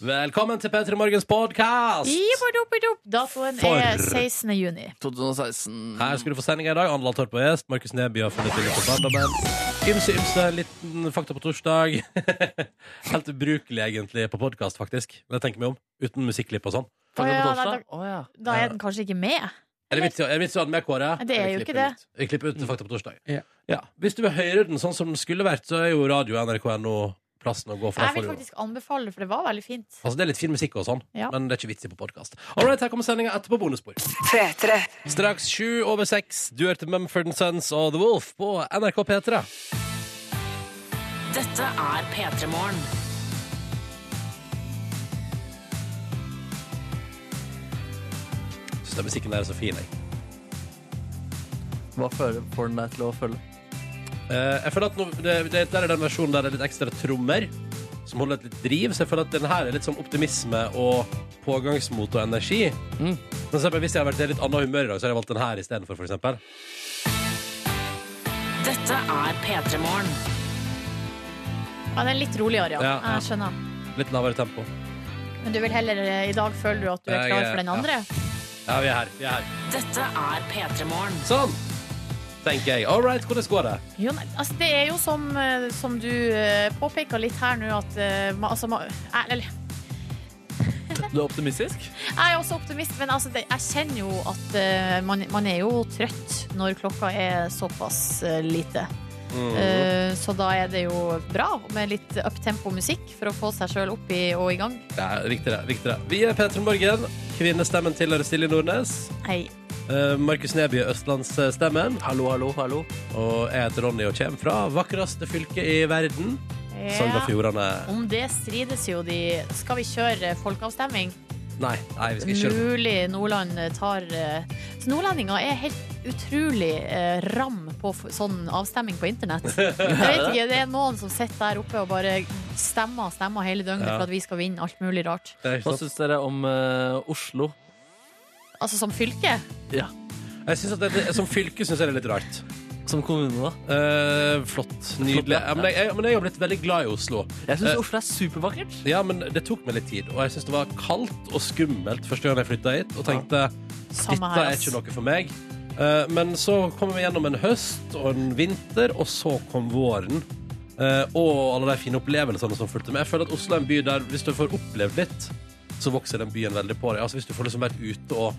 Velkommen til P3 Morgens podkast! Ibodobidob. Datoen er For- 16. juni. 2016. Her skal du få sending i dag. Anne Latorp og gjest. Markus Neby har funnet inn på Sandabend. Ymse, ymse, liten fakta på torsdag. Helt ubrukelig, egentlig, på podkast, faktisk. Det tenker vi om. Uten musikklipp og sånn. Eh, Fang Å, det ja, på nei, torsdag. da- Å ja. Da er den kanskje ikke med. Er det vits i å er det vits i å ha den med, Kåre? Men Det er jo ikke det. Vi klipper ut til fakta på torsdag. Ja. Ja. Hvis du vil høre den sånn som den skulle vært, så er jo radio nrk.no plassen å gå for. Jeg Da får vil du- faktisk anbefale det, for det var veldig fint. Altså, det er litt fin musikk og sånn, Ja. men det er ikke vits i på podkast. Right, her kommer sendinga etterpå bonusspor. Straks sju over seks. Du hørte Mumford Sons og The Wolf på NRK P3. Dette er P3 Morgen. Syns den musikken der er så fin, jeg. Hva føler får den deg til å føle? Eh, jeg føler at nå, det, det der er den versjonen der det er litt ekstra trommer, som holder et litt driv. Så jeg føler at den her er litt sånn optimisme og pågangsmot og energi. Mm. Men så, hvis jeg har vært i litt annet humør i dag, så har jeg valgt den her istedenfor, for eksempel. Dette er P3 Morgen. Ja, den er litt roligere, ja. Ja, ja. Jeg skjønner. Litt lavere tempo. Men du vil heller eh, i dag føler du at du er Jeg klar er- for den ja. andre? Ja, vi er her. Vi er her. Dette er P3 Morgen. Sånn! Tenker jeg. All right, hvordan går det? Jo, nei, altså, det er jo som, eh, som du eh, påpeker litt her nå, at eh, ma- altså, ma- jeg, eller, Du er optimistisk? jeg er også optimist, men altså, det, jeg kjenner jo at eh, man, man er jo trøtt når klokka er såpass eh, lite. Mm. Eh, så da er det jo bra med litt uptempo-musikk for å få seg sjøl opp i, og i gang. Det er riktig, det. Riktig det. Vi er P3 Morgen. Kvinnestemmen tilhører Silje Nordnes. Hei. Eh, Markus Neby er østlandsstemmen. Hallo, hallo, hallo. Og jeg heter Ronny og kommer fra vakreste fylke i verden, Sogn og Ja. Fjordane. Om det strides jo de Skal vi kjøre folkeavstemning? Nei, nei, vi skal ikke kjøre Mulig Nordland tar eh, Så nordlendinger er helt utrolig eh, ram på f sånn avstemming på internett. Jeg vet ikke, Det er noen som sitter der oppe og bare stemmer stemmer hele døgnet Ja. for at vi skal vinne alt mulig rart. Det er Hva ikke sant. syns dere om eh, Oslo? Altså som fylke. Ja, Jeg synes at det, det, Som fylke syns jeg det er litt rart. Som kommune, da? Eh, flott. Nydelig. ja. Ja, men, jeg, jeg, men jeg har blitt veldig glad i Oslo. Jeg Eh. syns Oslo er supervakkert. Ja, men Det tok meg litt tid, og jeg syns det var kaldt og skummelt første gang jeg flytta hit. Og tenkte Samme dette her, er ass. ikke noe for meg. Eh, men så kommer vi gjennom en høst og en vinter, og så kom våren. Eh, og alle de fine opplevelsene som fulgte med. Jeg føler at Oslo er en by der hvis du får opplevd litt, så vokser den byen veldig på deg. Altså Hvis du får liksom vært ute og,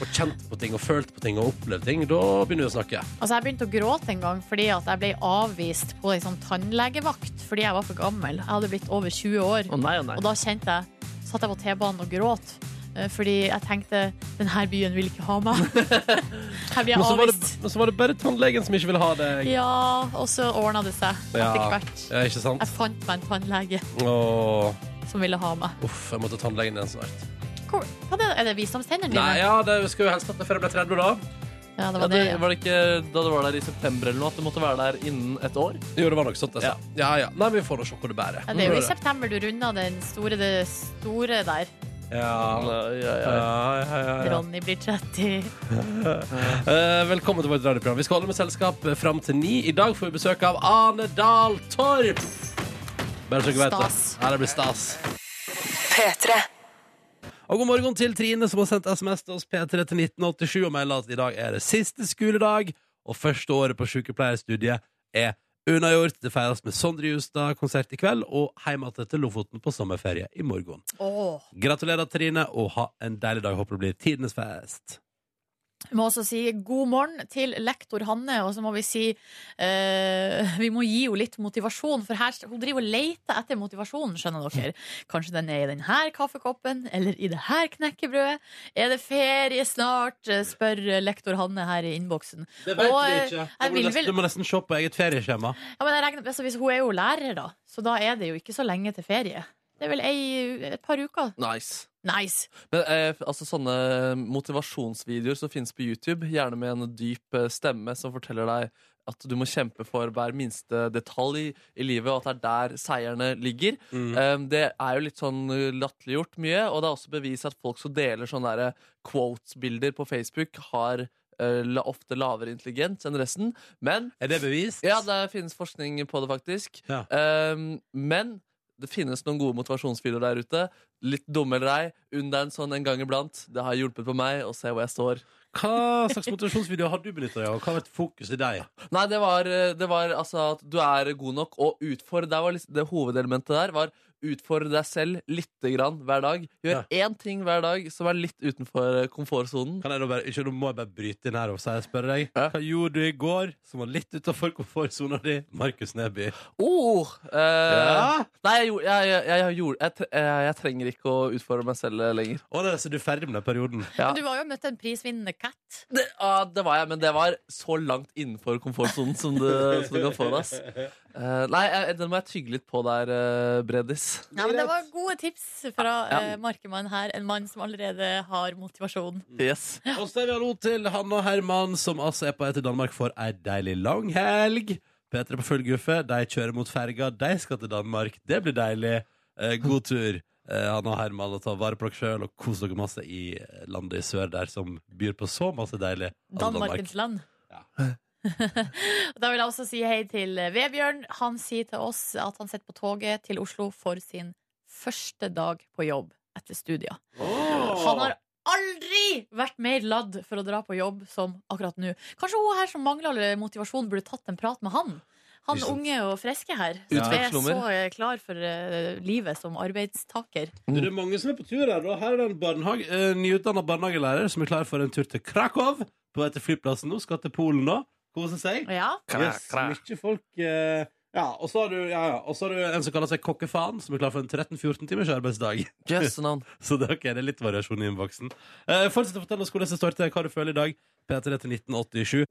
og kjent på ting og følt på ting og opplevd ting, da begynner vi å snakke. Altså Jeg begynte å gråte en gang fordi at jeg ble avvist på en sånn tannlegevakt fordi jeg var for gammel. Jeg hadde blitt over 20 år. Å nei, å nei. Og da kjente jeg Satt jeg på T-banen og gråt eh, Fordi jeg tenkte Denne byen vil ikke ha meg Her blir Men så jeg var det, avvist men så var det bare tannlegen som ikke ville ha deg. Ja, og så ordnet det seg Etter Ja. hvert Ja, ikke sant? Jeg fant meg en tannlege Åh, som ville ha meg uff, jeg måtte tannlegen igjen snart. Hvor, hva er det? Er det visdomstennene dine? Nei, ja, det skal jo helst at det er før jeg ble 30, da. Ja, det Ja, var det, det, ja. var det ikke da du var der i september eller noe, at du måtte være der innen et år? Jo, det var nok sånt. jeg sa. Ja, ja. Nei, men vi får nå se hvor det bærer. Ja, det er jo i september du runder den store, det store der Ja. Ja, ja, ja. Ja, ja, ja, ja. Ronny blir 30 Eh, velkommen til vårt radioprogram. Vi skal holde med selskap fram til ni. I dag får vi besøk av Ane Dahl Torp. Bare så dere vet det. Stas. Ja, det blir stas. Og god morgen til Trine, som har sendt SMS til oss P3 til 1987 og melder at i dag er det siste skoledag, og første året på sykepleierstudiet er unnagjort. Det feires med Sondre Justad-konsert i kveld, og hjem igjen til Lofoten på sommerferie i morgen. Åh Gratulerer, Trine, og ha en deilig dag. Håper det blir tidenes fest. Vi må også si god morgen til lektor Hanne, og så må vi si eh, Vi må gi henne litt motivasjon, for her, hun driver og leter etter motivasjon, skjønner dere. Kanskje den er i denne kaffekoppen, eller i det her knekkebrødet. Er det ferie snart? eh, spør lektor Hanne her i innboksen. Det vet Og, vi ikke. jeg Du må, Du må vil nesten- nesten, vel- du se på eget ferieskjema. Ja, men jeg regner, altså, hvis Hun er jo lærer, da, så da er det jo ikke så lenge til ferie. Det er vel ei, et par uker. Nice. Nice! Men eh, altså sånne motivasjonsvideoer som finnes på YouTube, gjerne med en dyp eh, stemme som forteller deg at du må kjempe for hver minste detalj i livet, og at det er der seierne ligger. Eh, det er jo litt sånn eh, latterliggjort mye, og det er også bevis at folk som deler sånne der eh, quotes-bilder på Facebook, har eh, la- ofte lavere intelligens enn resten. Men Er det bevist? ja, det finnes forskning på det, faktisk. Ja. Ehm, men Det finnes noen gode motivasjonsvideoer der ute. Litt dumme eller ei, unn deg en sånn en gang iblant. Det har hjulpet på meg å se hvor jeg står. Hva slags motivasjonsvideo har du benyttet deg av? Hva har vært fokuset i deg? Nei, det var, det var altså at du er god nok, og utfor det, var liksom, det hovedelementet der var utfordre deg selv lite grann hver dag. Gjør Ja. én ting hver dag som er litt utenfor eh, komfortsonen. Kan jeg da bare, ikke, nå må jeg bare bryte inn her og si, spørre deg Ja. Hva gjorde du i går som var litt utenfor komfortsona di? Markus Neby. Oh, eh, Ja. Nei, jeg, gjorde- jeg, jeg, jeg, gjorde- jeg, tre- eh, jeg, jeg trenger ikke å utfordre meg selv eh, lenger. Å, nei, så du er ferdig med den perioden? Ja. Men du var jo møtt en prisvinnende cat. Det, ah, det var jeg, men det var så langt innenfor komfortsonen som du, som du kan få det. ass. Eh, nei, jeg, den må jeg tygge litt på der, eh, Bredis. Ja, men det var gode tips fra Ja. eh, Markemann her. En mann som allerede har motivasjon. Yes. Og så sier vi hallo til Hanne og Herman, som altså er på vei til Danmark for ei deilig langhelg. P3 på full guffe. De kjører mot ferga. De skal til Danmark. Det blir deilig. Eh, god tur, eh, Hanne og Herman, og ta vare på dere sjøl og kos dere masse i eh, landet i sør der som byr på så masse deilig. Altså, Danmarkens land. Ja. da vil jeg også si hei til eh, Vebjørn. Han sier til oss at han sitter på toget til Oslo for sin første dag på jobb etter studier. Han har aldri vært mer ladd for å dra på jobb som akkurat nå. Kanskje hun her som mangler all motivasjon, burde tatt en prat med han. Han Ikke sant. unge og friske her. Ja. Som er så Utvekslinger. eh, klar for eh, livet som arbeidstaker. Du, Det er mange som er på tur her. Da. Her er det en barnehage, eh, nyutdanna barnehagelærer som er klar for en tur til Krakow. På vei til flyplassen nå. Skal til Polen nå. Kose seg. Ja. Yes, mye folk eh, ja, og så har du, ja, ja, og så har du en som kaller seg kokkefaen, som er klar for en 13-14 timers arbeidsdag. Jøss, navn. Så det, ok, det er litt variasjon i innboksen. Eh, fortsett å fortelle oss hvordan det står til, hva du føler i dag. P3 til 1987.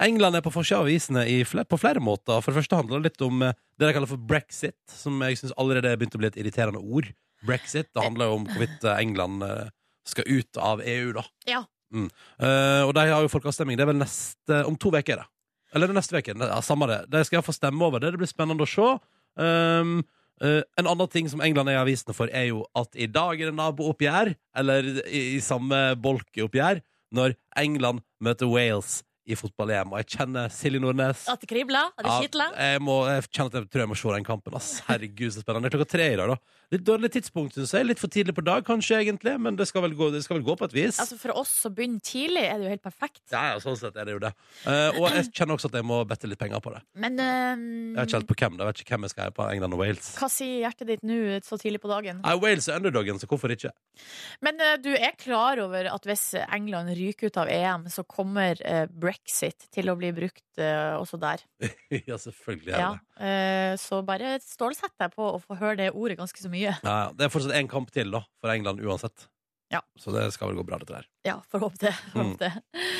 England er på forsida av avisene i fle på flere måter. For det første handler det litt om eh, det de kaller for brexit, som jeg syns allerede er begynt å bli et irriterende ord. Brexit det handler jo om hvorvidt eh, England eh, skal ut av EU, da. Ja. Mm. Eh, og de har jo folkeavstemning. Det er vel neste Om to uker, er det. Eller det er neste uke. Ja, samme det. De skal få stemme over det. Det blir spennende å se. Um, eh, en annen ting som England er i avisene for, er jo at i dag er det nabooppgjør, eller i, i samme bolkeoppgjør, når England møter Wales i fotball-EM. Og jeg kjenner Silje Nordnes. At det kribler, at det kitler. Ja, jeg, må, jeg kjenner at jeg tror jeg må se den kampen. Ass. Herregud, så spennende. Det er klokka tre i dag, da. Litt dårlig tidspunkt, syns jeg. Litt for tidlig på dag, kanskje, egentlig, men det skal vel gå, det skal vel gå på et vis. Altså For oss som begynner tidlig, er det jo helt perfekt. Ja, ja, sånn sett er det jo det. Eh, og jeg kjenner også at jeg må bette litt penger på det. Men Jeg har eh, ikke helt på hvem, da. Jeg vet ikke hvem jeg skal heie på. England og Wales. hva sier hjertet ditt nå så tidlig på dagen? Nei, Wales er underdogen, så hvorfor ikke? Men eh, du er klar over at hvis England ryker ut av EM, så kommer eh, brexit til å bli brukt eh, også der. ja, selvfølgelig er Ja. det. Eh, så bare stålsett deg på å få høre det ordet ganske så mye. Ja, ja. det er fortsatt én kamp til, da, for England uansett. Ja. Så det skal vel gå bra, dette der. Ja, får håpe det. Får håpe det. Eh,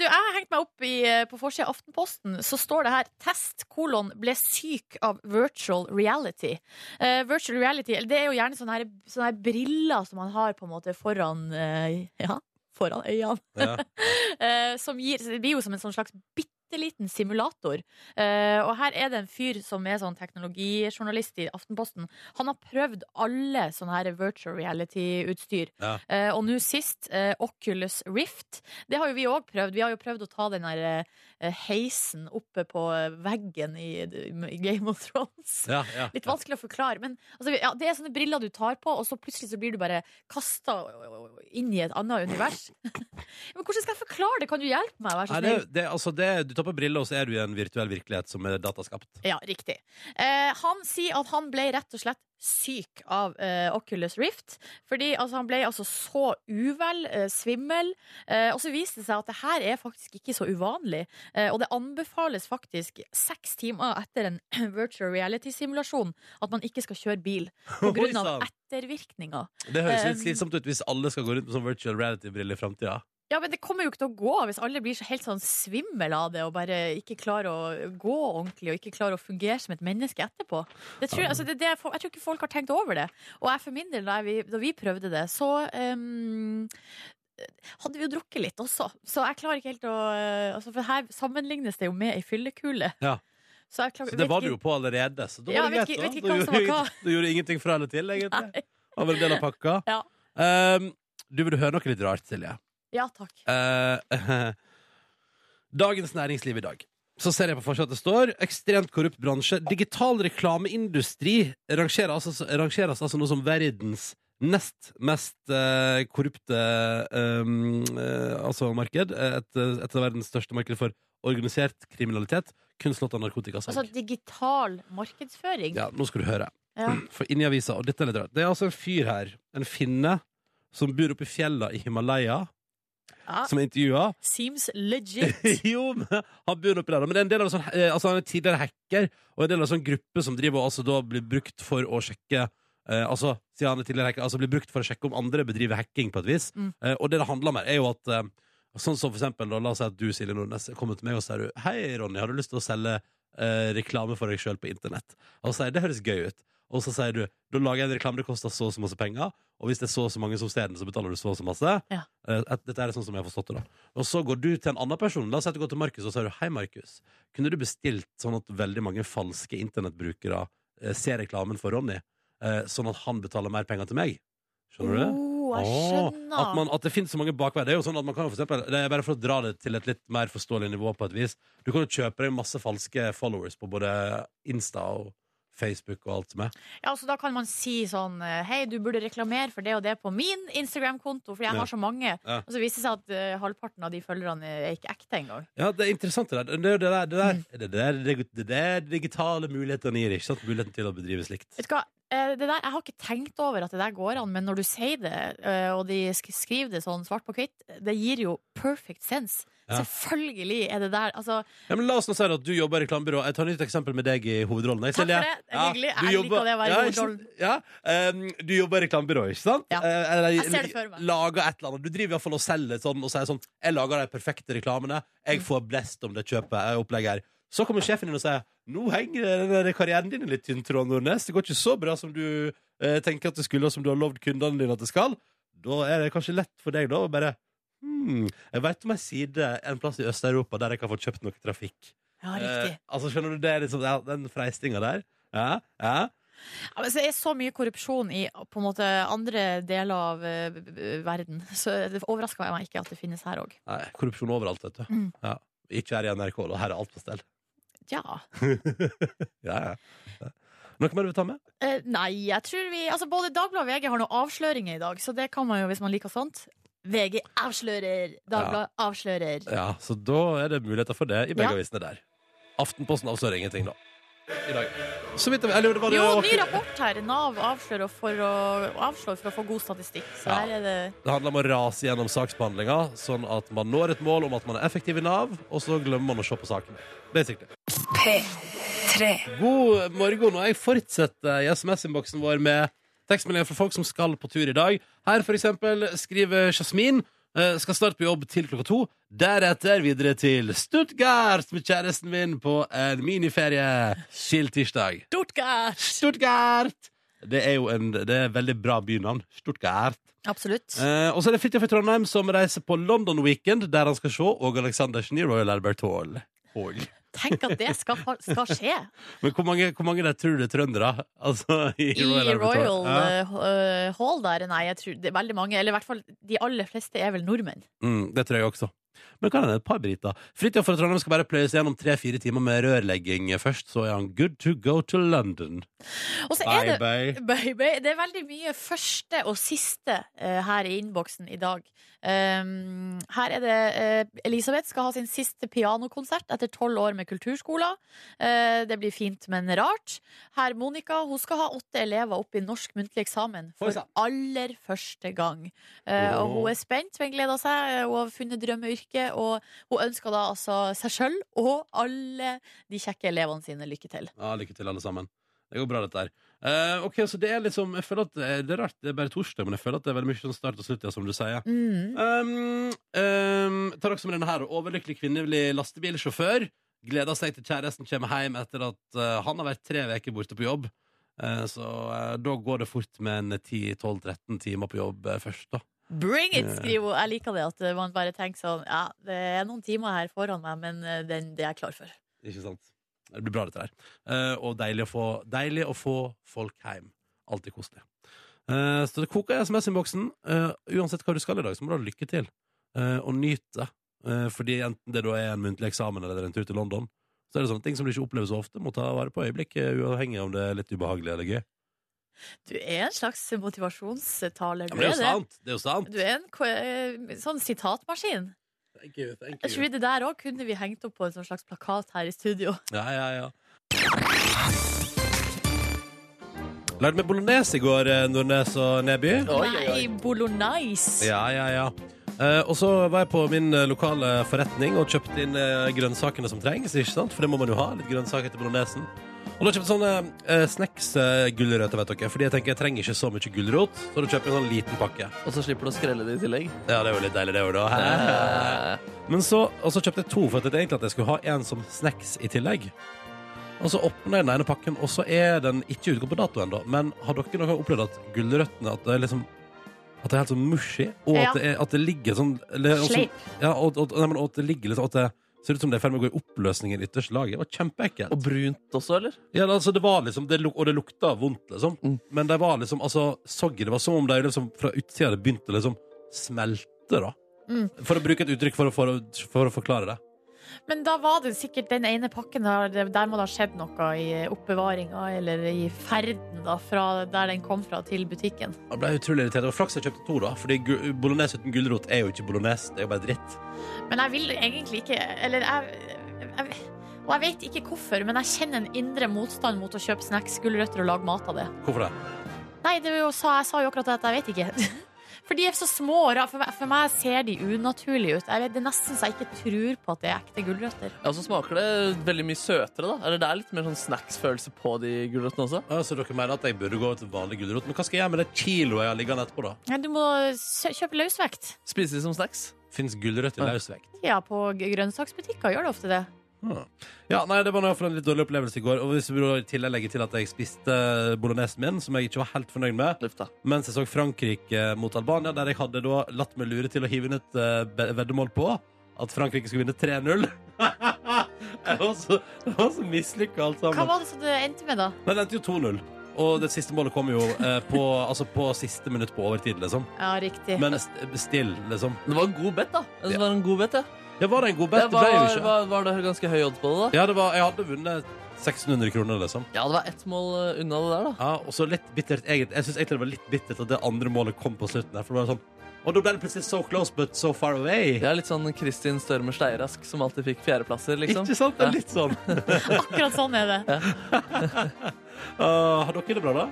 Du, jeg har hengt meg opp i, eh, på forsida av Aftenposten. Så står det her 'Test kolon ble syk av virtual reality'. Eh, virtual reality eller det er jo gjerne sånne, her, sånne her briller som man har på en måte foran, eh, ja, foran øynene. Ja. Eh, som gir, det blir jo som en sånn slags bitte liten simulator. Eh, og her er det en fyr som er sånn teknologijournalist i Aftenposten. Han har prøvd alle sånne her virtual reality-utstyr. Ja. Eh, og nå sist eh, Oculus Rift. Det har jo vi òg prøvd. Vi har jo prøvd å ta den her eh, heisen oppe på eh, veggen i, i Game of Thrones. Ja, ja. Litt vanskelig å forklare, men altså, ja, det er sånne briller du tar på, og så plutselig så blir du bare kasta inn i et annet univers. men hvordan skal jeg forklare det? Kan du hjelpe meg? Vær så Nei, det, snill. det, altså det, du tar på briller, og så er du i en virtuell virkelighet som er dataskapt. Ja, riktig. Eh, han sier at han ble rett og slett syk av eh, Oculus Rift. Fordi altså, han ble altså så uvel, eh, svimmel. Eh, og så viste det seg at det her er faktisk ikke så uvanlig. Eh, og det anbefales faktisk seks timer etter en virtual reality-simulasjon at man ikke skal kjøre bil. På grunn Oi, sann. av ettervirkninger. Det høres litt Um, slitsomt ut hvis alle skal gå rundt med sånn virtual reality-briller i framtida. Ja, men det kommer jo ikke til å gå hvis alle blir så helt sånn svimmel av det og bare ikke klarer å gå ordentlig og ikke klarer å fungere som et menneske etterpå. Det tror, jeg- altså, det, er det, jeg får- jeg tror ikke folk har tenkt over det. Og jeg for min del, da vi, da vi prøvde det, så ehm, hadde vi jo drukket litt også. Så jeg klarer ikke helt å eh, altså, For her sammenlignes det jo med ei fyllekule. Ja. Så, jeg klarer, Så det var du jo på allerede. Så da Ja, var det vet greit, da. ikke- vet Da ikke hva gjorde som var du hva. ingenting- Du gjorde ingenting fra eller til, egentlig. Han var en del av pakka. Ja. Ehm, du vil høre noe litt rart, Silje. Ja, takk. Eh, Dagens Næringsliv i dag. så ser jeg på forsida at det står ekstremt korrupt bransje. Digital reklameindustri rangeres altså, rangeres altså nå som verdens nest mest eh, korrupte eh, eh, altså marked. eh, Et, eh, et av verdens største marked for organisert kriminalitet. Kun slått av narkotikasalg. Altså digital markedsføring. ja, nå skal du høre. Ja. For inni avisa, og dette er litt rart Det er altså en fyr her, en finne, som bor oppe i fjella i Himalaya, Ja. som er intervjua. Seems legit. jo, men han bor oppi der, da. men det er en del av en sånn, eh, altså han er tidligere hacker, og en del av en sånn gruppe som driver og altså da blir brukt for å sjekke eh, altså, siden han er tidligere hacker, altså blir brukt for å sjekke om andre bedriver hacking på et vis. Mm. Eh, og det det handler om her, er jo at eh, sånn som for eksempel, da, la oss si at du, Silje Nordnes, kommer til meg og sier du, hei Ronny, har du lyst til å selge eh, reklame for deg selv på internett? Og så sier jeg, det høres gøy ut. Og så sier du, da lager jeg en reklame, det koster så og så masse penger, og hvis det er så og så mange som ser den, så betaler du så og så masse. Ja. Eh, at- dette er sånn som jeg har forstått det da. Og så går du til en annen person. La oss si at du går til Markus og sier du, Hei, Markus. Kunne du bestilt sånn at veldig mange falske internettbrukere eh, ser reklamen for Ronny, eh, sånn at han betaler mer penger til meg? Skjønner du det? Oh, jeg Åh, skjønner. at, man, at det finnes så mange bakveier. Det er jo sånn at man kan jo for eksempel, det er bare for å dra det til et litt mer forståelig nivå på et vis. Du kan jo kjøpe deg masse falske followers på både Insta og Facebook og alt som er. Ja, altså Da kan man si sånn eh, Hei, du burde reklamere for det og det på min Instagram-konto, fordi jeg Ja. har så mange. Og så viser det seg at eh, halvparten av de følgerne er ikke ekte engang. Ja, det er interessant det der. Det, er jo det, der, det, Mm. der, det, der, det, der, det der digitale mulighetene gir, ikke sant? Muligheten til å bedrive slikt. Vet du hva? Eh, Det der, jeg har ikke tenkt over at det der går an, men når du sier det, eh, og de sk- skriver det sånn svart på hvitt, det gir jo perfect sense. Ja. Selvfølgelig er det der. Altså, Ja, men la oss nå si at du jobber i reklamebyrå. Jeg tar et nytt eksempel med deg i hovedrollen. Jeg, Takk for det. Det er hyggelig. Jeg liker det å være i hovedrollen. Ja, um, du jobber i reklamebyrå, ikke sant? Ja. Eh, eller, Jeg ser det for meg. Lager et eller annet. Du driver i hvert fall og selger sånn og sier sånn Jeg lager de perfekte reklamene. Jeg Mm. får blest om det kjøpet jeg opplegger. her. Så kommer sjefen din og sier Nå henger den der karrieren din i litt tynn tråd, Nordnes. Det går ikke så bra som du eh, tenker at det skulle, og som du har lovd kundene dine at det skal. Da er det kanskje lett for deg, da, å bare hmm, Jeg veit om ei side en plass i Øst-Europa der jeg kan få kjøpt noe trafikk. ja, riktig. Eh, altså, skjønner du, det er liksom ja, den freistinga der. Ja, ja. Ja, men så det er så mye korrupsjon i på en måte, andre deler av eh, b- b- verden, så det overrasker meg ikke at det finnes her òg. Nei, korrupsjon overalt, vet du. Mm. Ja. Ikke her i NRK, da. Her er alt på stell. Ja. Ja, ja. ja. Noe mer du vil ta med? Eh, nei, jeg tror vi Altså, både Dagbladet og VG har noen avsløringer i dag, så det kan man jo hvis man liker sånt. VG avslører! Dagbladet avslører. Ja, Eh, så da er det muligheter for det i begge Ja. avisene der. Aftenposten avslører ingenting, da. I dag. Så vidt jeg Eller det var det Jo, ny rapport her. Nav avslører for å, avslår for å få god statistikk. Så Ja. her er det Det handler om å rase gjennom saksbehandlinga, sånn at man når et mål om at man er effektiv i Nav, og så glemmer man å se på sakene. Basically. God morgen, og jeg fortsetter i SMS-innboksen vår med tekstmeldinger fra folk som skal på tur i dag. Her for eksempel skriver Jasmin eh, skal snart på jobb til klokka to. Deretter videre til Stuttgart med kjæresten min på en miniferie til tirsdag. Stuttgart! Stuttgart! Det er jo en, det er et veldig bra bynavn. Stuttgart. Absolutt. Eh, og så er det Fridtjof i Trondheim som reiser på London Weekend, der han skal se og Alexander i Royal Albert Hall. Hall. Tenk at det skal, ha- skal skje Men hvor mange, hvor mange der tror du er trøndere? Altså, i, i Royal Albert Royal Hall. Ja. eh, h- eh, Hall der. Nei, jeg tror det er veldig mange. Eller i hvert fall de aller fleste er vel nordmenn. Mm, det tror jeg også. Men kan hende et par briter. Fridtjof fra Trondheim skal bare pløyes gjennom tre-fire timer med rørlegging først, så er han good to go to London. Og så Bye, er det bye. Baby, det er veldig mye første og siste eh, her i innboksen i dag. Um, her er det eh, Elisabeth skal ha sin siste pianokonsert etter tolv år med kulturskoler. Eh, det blir fint, men rart. Her Monica hun skal ha åtte elever opp i norsk muntlig eksamen Oi, for sann. aller første gang. Eh, og Åh. hun er spent, hun gleder seg, hun har funnet drømmeyrket. Og hun ønsker da altså seg sjøl og alle de kjekke elevene sine lykke til. Ja, lykke til, alle sammen. Det går bra, dette her. Eh, ok, så det er liksom, jeg føler at eh, Det er rart, det er bare torsdag, men jeg føler at det er veldig mye sånn start og slutt, ja, som du sier. Mm. Um, um, tar også med denne her Overlykkelig kvinnelig lastebilsjåfør Gleder seg til kjæresten kommer hjem Etter at eh, han har vært tre veker borte på jobb Eh, Så eh, da går det fort Med en 10-12-13 timer på jobb eh, Først da Bring it, Ja. skriver hun. Jeg liker det at man bare tenker sånn Ja, det er noen timer her foran meg, men eh, den, det er jeg klar for. Ikke sant? Det blir bra dette her. Eh, og deilig å, få, deilig å få folk hjem. Alltid koselig. Eh, så det koker i SMS-innboksen. Eh, uansett hva du skal i dag, så må du ha lykke til. Eh, og nyt det. Eh, fordi enten det da er en muntlig eksamen eller en tur til London, Så er det sånne ting som du ikke opplever så ofte, må ta vare på i øyeblikket, uavhengig av om det er litt ubehagelig eller gøy. Du er en slags motivasjonstaler. Ja, men Du det er jo er det. sant! Det er jo sant! Du er en ko- eh, sånn sitatmaskin. Thank you, thank Jeg tror det der òg kunne vi hengt opp på en sånn slags plakat her i studio. Ja, ja, ja. Lærte meg bolognese i går, eh, Nordnes og Neby. Oi, oi, oi. Nei, bolognese! Ja, ja, ja. Eh, og så var jeg på min eh, lokale forretning og kjøpte inn eh, grønnsakene som trengs. ikke sant? For det må man jo ha. Litt grønnsaker til bolognesen. Og da kjøpte jeg sånne eh, snacks-gulrøtter, vet dere. Fordi jeg tenker jeg trenger ikke så mye gulrot. Så da kjøper jeg en sånn liten pakke. Og så slipper du å skrelle det i tillegg. Ja, det er jo litt deilig, det òg, da. Eh, Men så, og så kjøpte jeg to, for jeg tenkte egentlig at jeg skulle ha en som snacks i tillegg. Og så åpner jeg den ene pakken, og så er den ikke utgått på dato ennå. Men har dere noen gang opplevd at gulrøttene At det er liksom At det er helt sånn mushy, og Ja. at, det er, at det ligger sånn eller- og så- Sleip. Ja, og, og, nei, men, og at det ligger liksom At det ser ut som det er i ferd med å gå i oppløsning i det ytterste laget. Det var kjempeekkelt. og brunt også, eller? Ja, altså, det var liksom, det, luk- og det lukta vondt, liksom. Mm. Men det var liksom altså, soggy. Det var som om de liksom, fra utsida hadde begynt å liksom smelte, da. Mm. For å bruke et uttrykk for å, for, å, for å forklare det. Men da var det sikkert den ene pakken der, der må det ha skjedd noe i oppbevaringa eller i ferden da, fra der den kom fra til butikken. Jeg ble utrolig irritert. Det var flaks jeg kjøpte to, da. Fordi gu- bolognese uten gulrot er jo ikke bolognese. Det er jo bare dritt. Men jeg vil egentlig ikke Eller jeg, jeg Og jeg vet ikke hvorfor, men jeg kjenner en indre motstand mot å kjøpe snacks, gulrøtter og lage mat av det. Hvorfor det? Nei, det er jo, sa, jeg sa jo akkurat at jeg vet ikke. For de er så små og rare. For, meg- for meg ser de unaturlige ut. Jeg vet, det er nesten så jeg ikke tror på at det er ekte gulrøtter. Ja, og så smaker det veldig mye søtere, da. Eller det er litt mer sånn snacksfølelse på de gulrøttene også. Ja, så dere mener at jeg burde gå over til vanlig gulrot. Men hva skal jeg gjøre med det kiloet jeg har liggende etterpå, da? Nei, Du må sø- kjøpe løsvekt. Spiser de som snacks. Fins gulrøtt i Ja. løsvekt? Ja, på g- grønnsaksbutikker gjør det ofte det. Ah. Ja, nei, Det var i hvert fall en litt dårlig opplevelse i går. Og hvis vi da i tillegg legger til at jeg spiste bolognesen min, som jeg ikke var helt fornøyd med, Luft, da. mens jeg så Frankrike mot Albania, der jeg hadde da latt meg lure til å hive inn et eh, be- veddemål på at Frankrike skulle vinne 3-0. Jeg var så, jeg var så mislykka, alt sammen. Hva var det som det endte med, da? Nei, det endte jo 2-0. Og det siste målet kom jo eh, på, altså på siste minutt på overtid, liksom. Ja, riktig. Men st- still, liksom. Det var en god bet, da. Jeg synes Ja. Det var en god bet, ja. Ja, var det en god Det bet? Det var, ble jo ikke. var, var det ganske høy odds på det, da? Ja, det var, jeg hadde vunnet 1600 kroner, liksom. Ja, det var ett mål eh, unna det der, da. Ja, og så litt bittert eget. Jeg synes egentlig det var litt bittert at det andre målet kom på slutten der, for det var sånn Og da ble det plutselig so close, but so far away. Jeg er litt sånn Kristin Størmer Steirask som alltid fikk fjerdeplasser, liksom. Ikke sant? Det er litt sånn. Akkurat sånn er det. Ah, har dere det bra, da?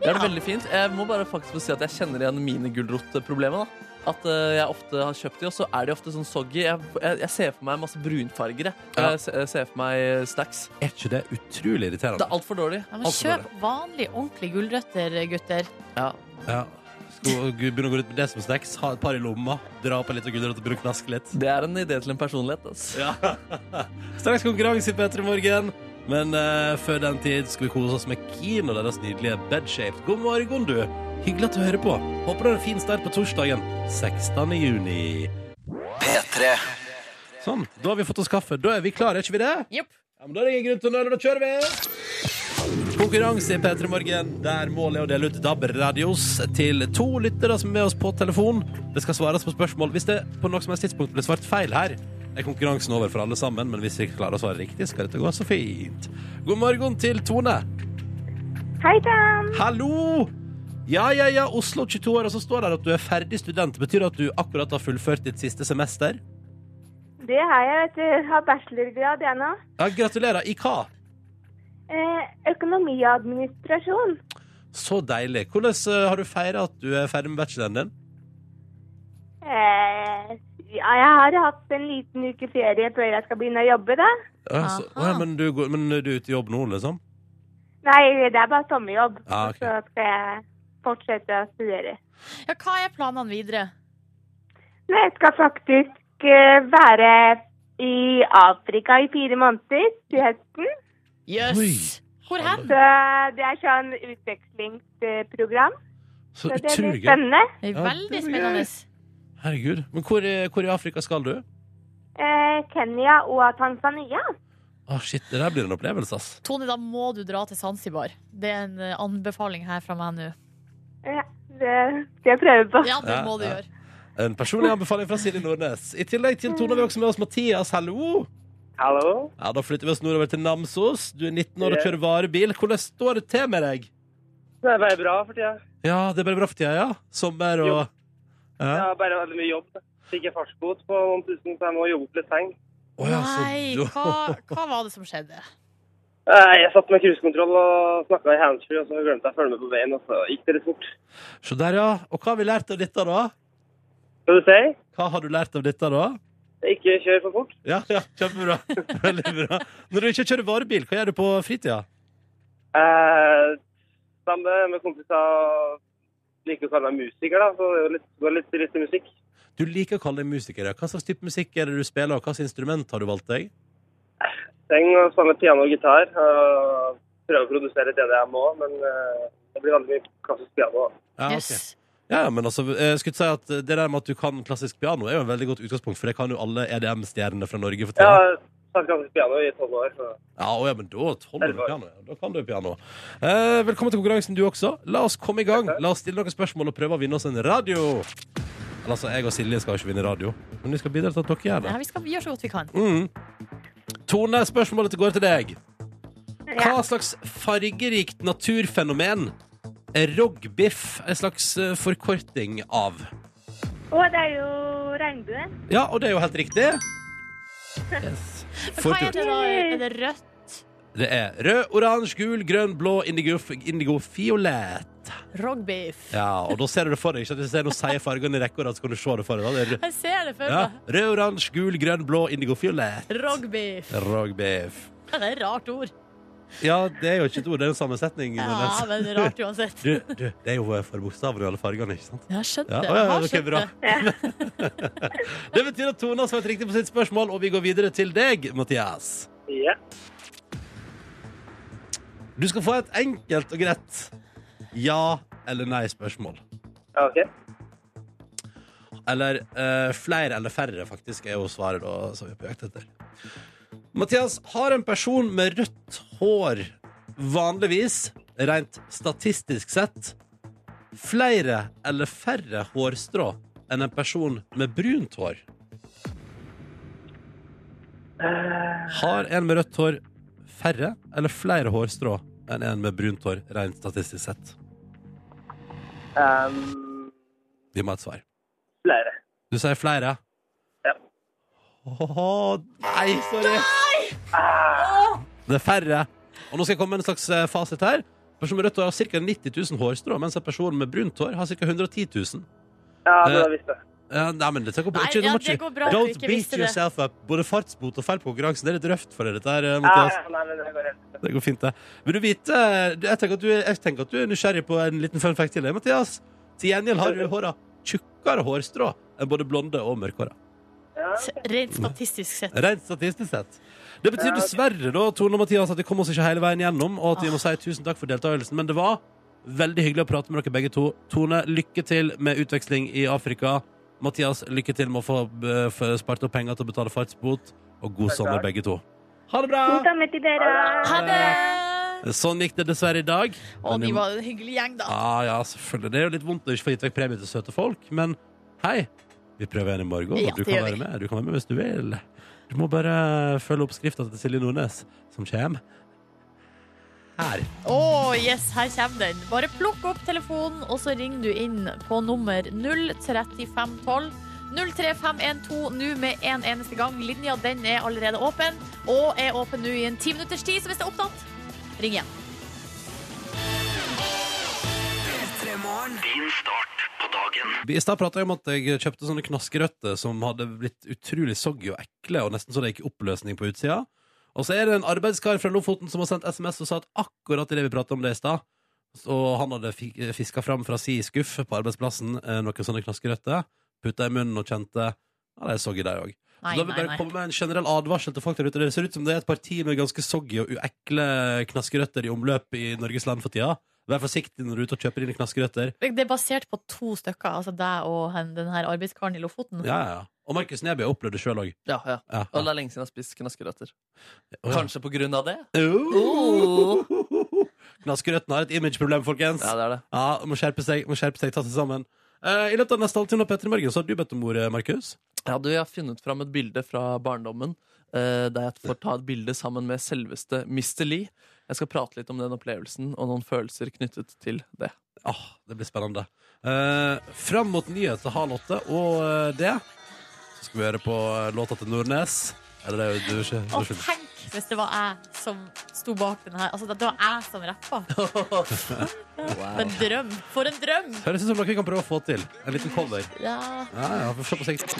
Det er veldig fint. Jeg må bare faktisk få si at jeg kjenner igjen mine gulrotproblemer. da. At eh, jeg ofte har kjøpt de, og så er de ofte sånn soggy. Jeg, jeg, jeg ser for meg masse brunfarger. Jeg, Ja. jeg, se- jeg ser for meg eh, snacks. Er ikke det utrolig Det irriterende? er altfor dårlig. Ja, men Altfor kjøp vanlige, ordentlige gulrøtter, gutter. Ja. Ja. Skal vi begynne å gå ut med det som snacks, ha et par i lomma, dra på litt og gulrot og begynne å knaske litt. Det er en idé til en personlighet. ass. Ja. Straks konkurranse i P3 Morgen. Men eh, før den tid skal vi kose oss med Keen og deres nydelige bedshaped. God morgen, du. Hyggelig at du hører på. Håper du har en fin start på torsdagen 16. juni. P3 Sånn. Da har vi fått oss kaffe. Da er vi klare, er ikke vi det? Jepp. Ja, men Da er det ingen grunn til å nøle. Da kjører vi. Konkurranse i P3 Morgen, der målet er å dele ut DAB-radios til to lyttere som er med oss på telefon. Det skal svares på spørsmål. Hvis det på noe som helst tidspunkt blir svart feil her, er konkurransen over for alle sammen, men hvis vi klarer å svare riktig, skal dette gå så fint. God morgen til Tone. Hei sann! Hallo! Ja, ja, ja, Oslo 22 år, og så står det her at du er ferdig student. Betyr det at du akkurat har fullført ditt siste semester? Det har jeg, vet du. Har bachelorgrad jeg nå. Ja, gratulerer. I hva? Eh, økonomi og administrasjon. Så deilig. Hvordan eh, har du feira at du er ferdig med bacheloren din? Eh, ja, jeg har hatt en liten uke ferie før jeg skal begynne å jobbe, da. Ja, så, Aha. ja, men, du, går- men du er ute i jobb nå, liksom? Nei, det er bare sommerjobb. Ah, ok. Så skal jeg fortsette å studere. Ja, hva er planene videre? Nei, jeg skal faktisk eh, være i Afrika i fire måneder til høsten. Jøss! Oi. Hvor hen? Så det er sånn utvekslingsprogram. Så Så det utrolig blir gøy. spennende. Det er Ja, veldig det blir spennende. Herregud. Men hvor, i- hvor i Afrika skal du? Eh, Kenya og Tanzania. Ah, shit, Det der blir en opplevelse, ass. Tone, da må du dra til Zanzibar. Det er en eh, anbefaling her fra meg nå. Ja, det skal jeg prøve på. Ja, det Ja, må du ja. gjøre. En personlig anbefaling fra Silje Nordnes. I tillegg til Tone har vi også med oss Mathias. Hallo! Hallo? Ja, Da flytter vi oss nordover til Namsos. Du er 19 år og Ja. kjører varebil. Hvordan står det til med deg? Det er bare bra for tida. Ja, det er bare bra for tida, ja. Sommer og Jeg ja. har bare veldig mye jobb. Fikk jeg fartsbot på noen tusen, så jeg må jobbe opp litt penger. Å, ja, så Nei, du- hva, hva var det som skjedde? Eh, Jeg satt med cruisekontroll og snakka i handsfree, og så glemte jeg å følge med på veien, og så gikk det litt fort. Så der, ja. Og hva har vi lært av dette, da? Skal du si? Hva har du lært av dette, da? Ikke kjør for fort. Ja, ja, kjempebra. Veldig bra. Når du ikke kjører varebil, hva gjør du på fritida? Eh, sammen med kompiser liker å kalle meg musiker, da, så det er jo litt, går litt, litt til musikk. Du liker å kalle deg musiker. ja. Hva slags type musikk er det du spiller, og hva slags instrument har du valgt deg? Trenger å spille piano og gitar. Og prøve å produsere litt EDM òg, men eh, det blir veldig mye klassisk piano. da. Ja, ok. Yes. ja, ja, men altså, jeg skulle si at Det der med at du kan klassisk piano, er jo en veldig godt utgangspunkt, for det kan jo alle EDM-stjernene fra Norge for Jeg tida. har spilt klassisk piano i tolv år. Så. Ja, å ja, men da holder du Elleve år. piano. ja. Da kan du piano. Eh, velkommen til konkurransen, du også. La oss komme i gang. La oss stille noen spørsmål og prøve å vinne oss en radio. Eller, altså, jeg og Silje skal jo ikke vinne radio, men vi skal bidra til at dere gjør det. Ja, vi skal gjøre så godt vi kan. Mm. Tone, spørsmålet går til deg. Ja. Hva slags fargerikt naturfenomen er rogbiff en slags eh, forkorting av? Og det er jo regnbuen. Ja, og det er jo helt riktig. Yes. Men hva Fort er gjort. det da? Er det rødt, Det er rød, oransje, gul, grønn, blå, indigo, indigo fiolett. rogbeef? Ja, og da ser du det for deg. Ikke at jeg ser noe sier fargene i rekke og at skal du se det for deg. Da. Det er, Jeg ser det for rød- ja, meg. rød, oransje, gul, grønn, blå, indigo fiolett. Rogbeef. Rogbiff. Det er et rart ord. Ja, det er jo ikke et ord, det er en sammensetning. Ja, Nordnes. men det er rart uansett. Du, du, det er jo for bokstavene i alle fargene, ikke sant? Jeg har skjønt Ja, det. å, ja, Jeg har ok, skjønt bra. det. Det betyr at Tone har svart riktig på sitt spørsmål, og vi går videre til deg, Mathias. Ja. Du skal få et enkelt og greit ja- eller nei-spørsmål. Ja, OK. Eller eh, flere eller færre, faktisk, er jo svaret da, som vi er på jakt etter. Mathias, har en person med rødt hår vanligvis, rent statistisk sett, flere eller færre hårstrå enn en person med brunt hår? Har en med rødt hår færre eller flere hårstrå enn en med brunt hår, rent statistisk sett? Ehm, Vi må ha et svar. flere. Du sier flere? Ja. Åh, nei, sorry! Det er færre. Og nå skal jeg komme med en slags eh, fasit her. En person med rødt hår har ca. 90 000 hårstrå, mens en person med brunt hår har ca. 110 000. Ja, det har jeg visst det. Eh, nei, men dette går bra. Nei, Ikke- nå ja, må det ikke- går bra at du Don't ikke beat visste det. yourself up. Både fartsbot og feil på konkurransen, det er litt røft for deg, dette her, eh, Ja, Mathias. ja, nei, men det går helt fint. Det går fint, det. Vil du vite du- Jeg tenker at du, er- jeg tenker at du er nysgjerrig på en liten fun fact til deg, Mathias. Til gjengjeld har du håra tjukkere hårstrå enn både blonde og mørkhåra. Ja. Rent statistisk sett. Rent statistisk sett. Det betyr dessverre da, Tone og Mathias, at vi kom oss ikke hele veien gjennom, og at vi må si tusen takk for deltakelsen. Men det var veldig hyggelig å prate med dere begge to. Tone, lykke til med utveksling i Afrika. Mathias, lykke til med å få, eh, få spart opp penger til å betale fartsbot. Og god sommer, begge to. Ha det bra! God sommer til dere. Ha det! Sånn gikk det dessverre i dag. Å, Men de vi- var en hyggelig gjeng, da. Ja, Ah, ja, selvfølgelig. Det er jo litt vondt å ikke få gitt vekk premie til søte folk, men hei, vi prøver igjen i morgen. Ja, og du det kan gjør vi. være med. Du kan være med hvis du vil. Du må bare følge oppskrifta til Silje Nordnes, som kommer her. Å, yes, her kommer den. Bare plukk opp telefonen, og så ringer du inn på nummer 03512. 03512 nå med en eneste gang. Linja den er allerede åpen, og er åpen nå i en ti minutters tid, så hvis det er opptatt, ring igjen. I stad prata jeg om at jeg kjøpte sånne knaskerøtter som hadde blitt utrolig soggy og ekle, og nesten så det gikk i oppløsning på utsida. Og så er det en arbeidskar fra Lofoten som har sendt SMS og sa at akkurat idet vi prata om det i stad, og han hadde fiska fram fra si skuff på arbeidsplassen eh, noen sånne knaskerøtter, putta i munnen og kjente Ja, de er soggy, de òg. Så Nei, da vil jeg nei, bare nei. komme med en generell advarsel til folk der ute. Det ser ut som det er et parti med ganske soggy og uekle knaskerøtter i omløp i Norges land for tida. Vær forsiktig når du er ute og kjøper dine knaskerøtter. Det er basert på to stykker, altså deg og hen- den her arbeidskaren i Lofoten. Ja, ja, ja. Og Markus Neby har opplevd det sjøl òg. Ja, ja. Ja. Og det er lenge siden jeg har spist knaskerøtter. Å, ja. Kanskje på grunn av det? Oh. Knaskerøtten har et imageproblem, folkens. Ja, Ja, det er det. må skjerpe seg, må skjerpe seg, ta seg sammen. Eh, I løpet av neste halvtime av Petter i morgen så har du bedt om ordet, Markus. Ja, du, jeg har funnet fram et bilde fra barndommen eh, der jeg får ta et bilde sammen med selveste Mr. Lee. Jeg skal prate litt om den opplevelsen og noen følelser knyttet til det. Åh, det blir spennende. Eh, fram mot nyheter halv åtte og eh, det, så skal vi høre på eh, låta til Nordnes. Eller det er jo du ikke du er Og ikke- tenk hvis det var jeg som sto bak den her. Altså, det var jeg som rappa. For en drøm! For en drøm! Høres ut som noe vi kan prøve å få til. En liten cover. Ja. Ja, ja, får se på sikt.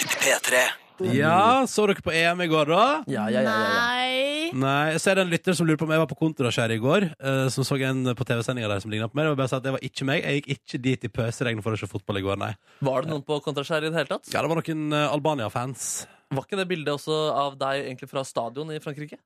Ja, så dere på EM i går, da? Ja, ja, ja, ja, ja. Nei Nei, så er det en lytter som lurer på om jeg var på Kontraskjæret i går, eh, som så en på TV-sendinga der som ligna på meg. Og jeg bare sa at det var ikke meg. Jeg gikk ikke dit i pøsregn for å se fotball i går, nei. Var det noen på Kontraskjæret i det hele tatt? Ja, det var noen eh, Albania-fans. Var ikke det bildet også av deg egentlig fra stadion i Frankrike?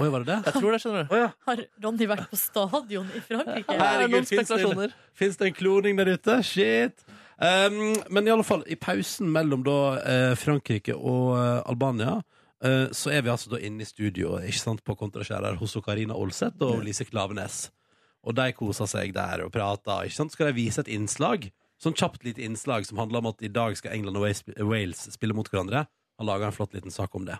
Oi, var det det? Jeg tror det, skjønner du. Har Ronny vært på stadion i Frankrike? Ja. Det er Herregud, noen finnes det- spekulasjoner. Fins det en kloning der ute? Shit! Um, men i alle fall, i pausen mellom da eh, Frankrike og eh, Albania, eh, så er vi altså da inne i studio ikke sant, på Kontraskjæret hos Karina Olseth og Lise Klavenes. Og de koser seg der og prater. Ikke sant? Skal de vise et innslag? Sånn kjapt lite innslag som handler om at i dag skal England og Wales- Wales spille mot hverandre. Han laga en flott liten sak om det.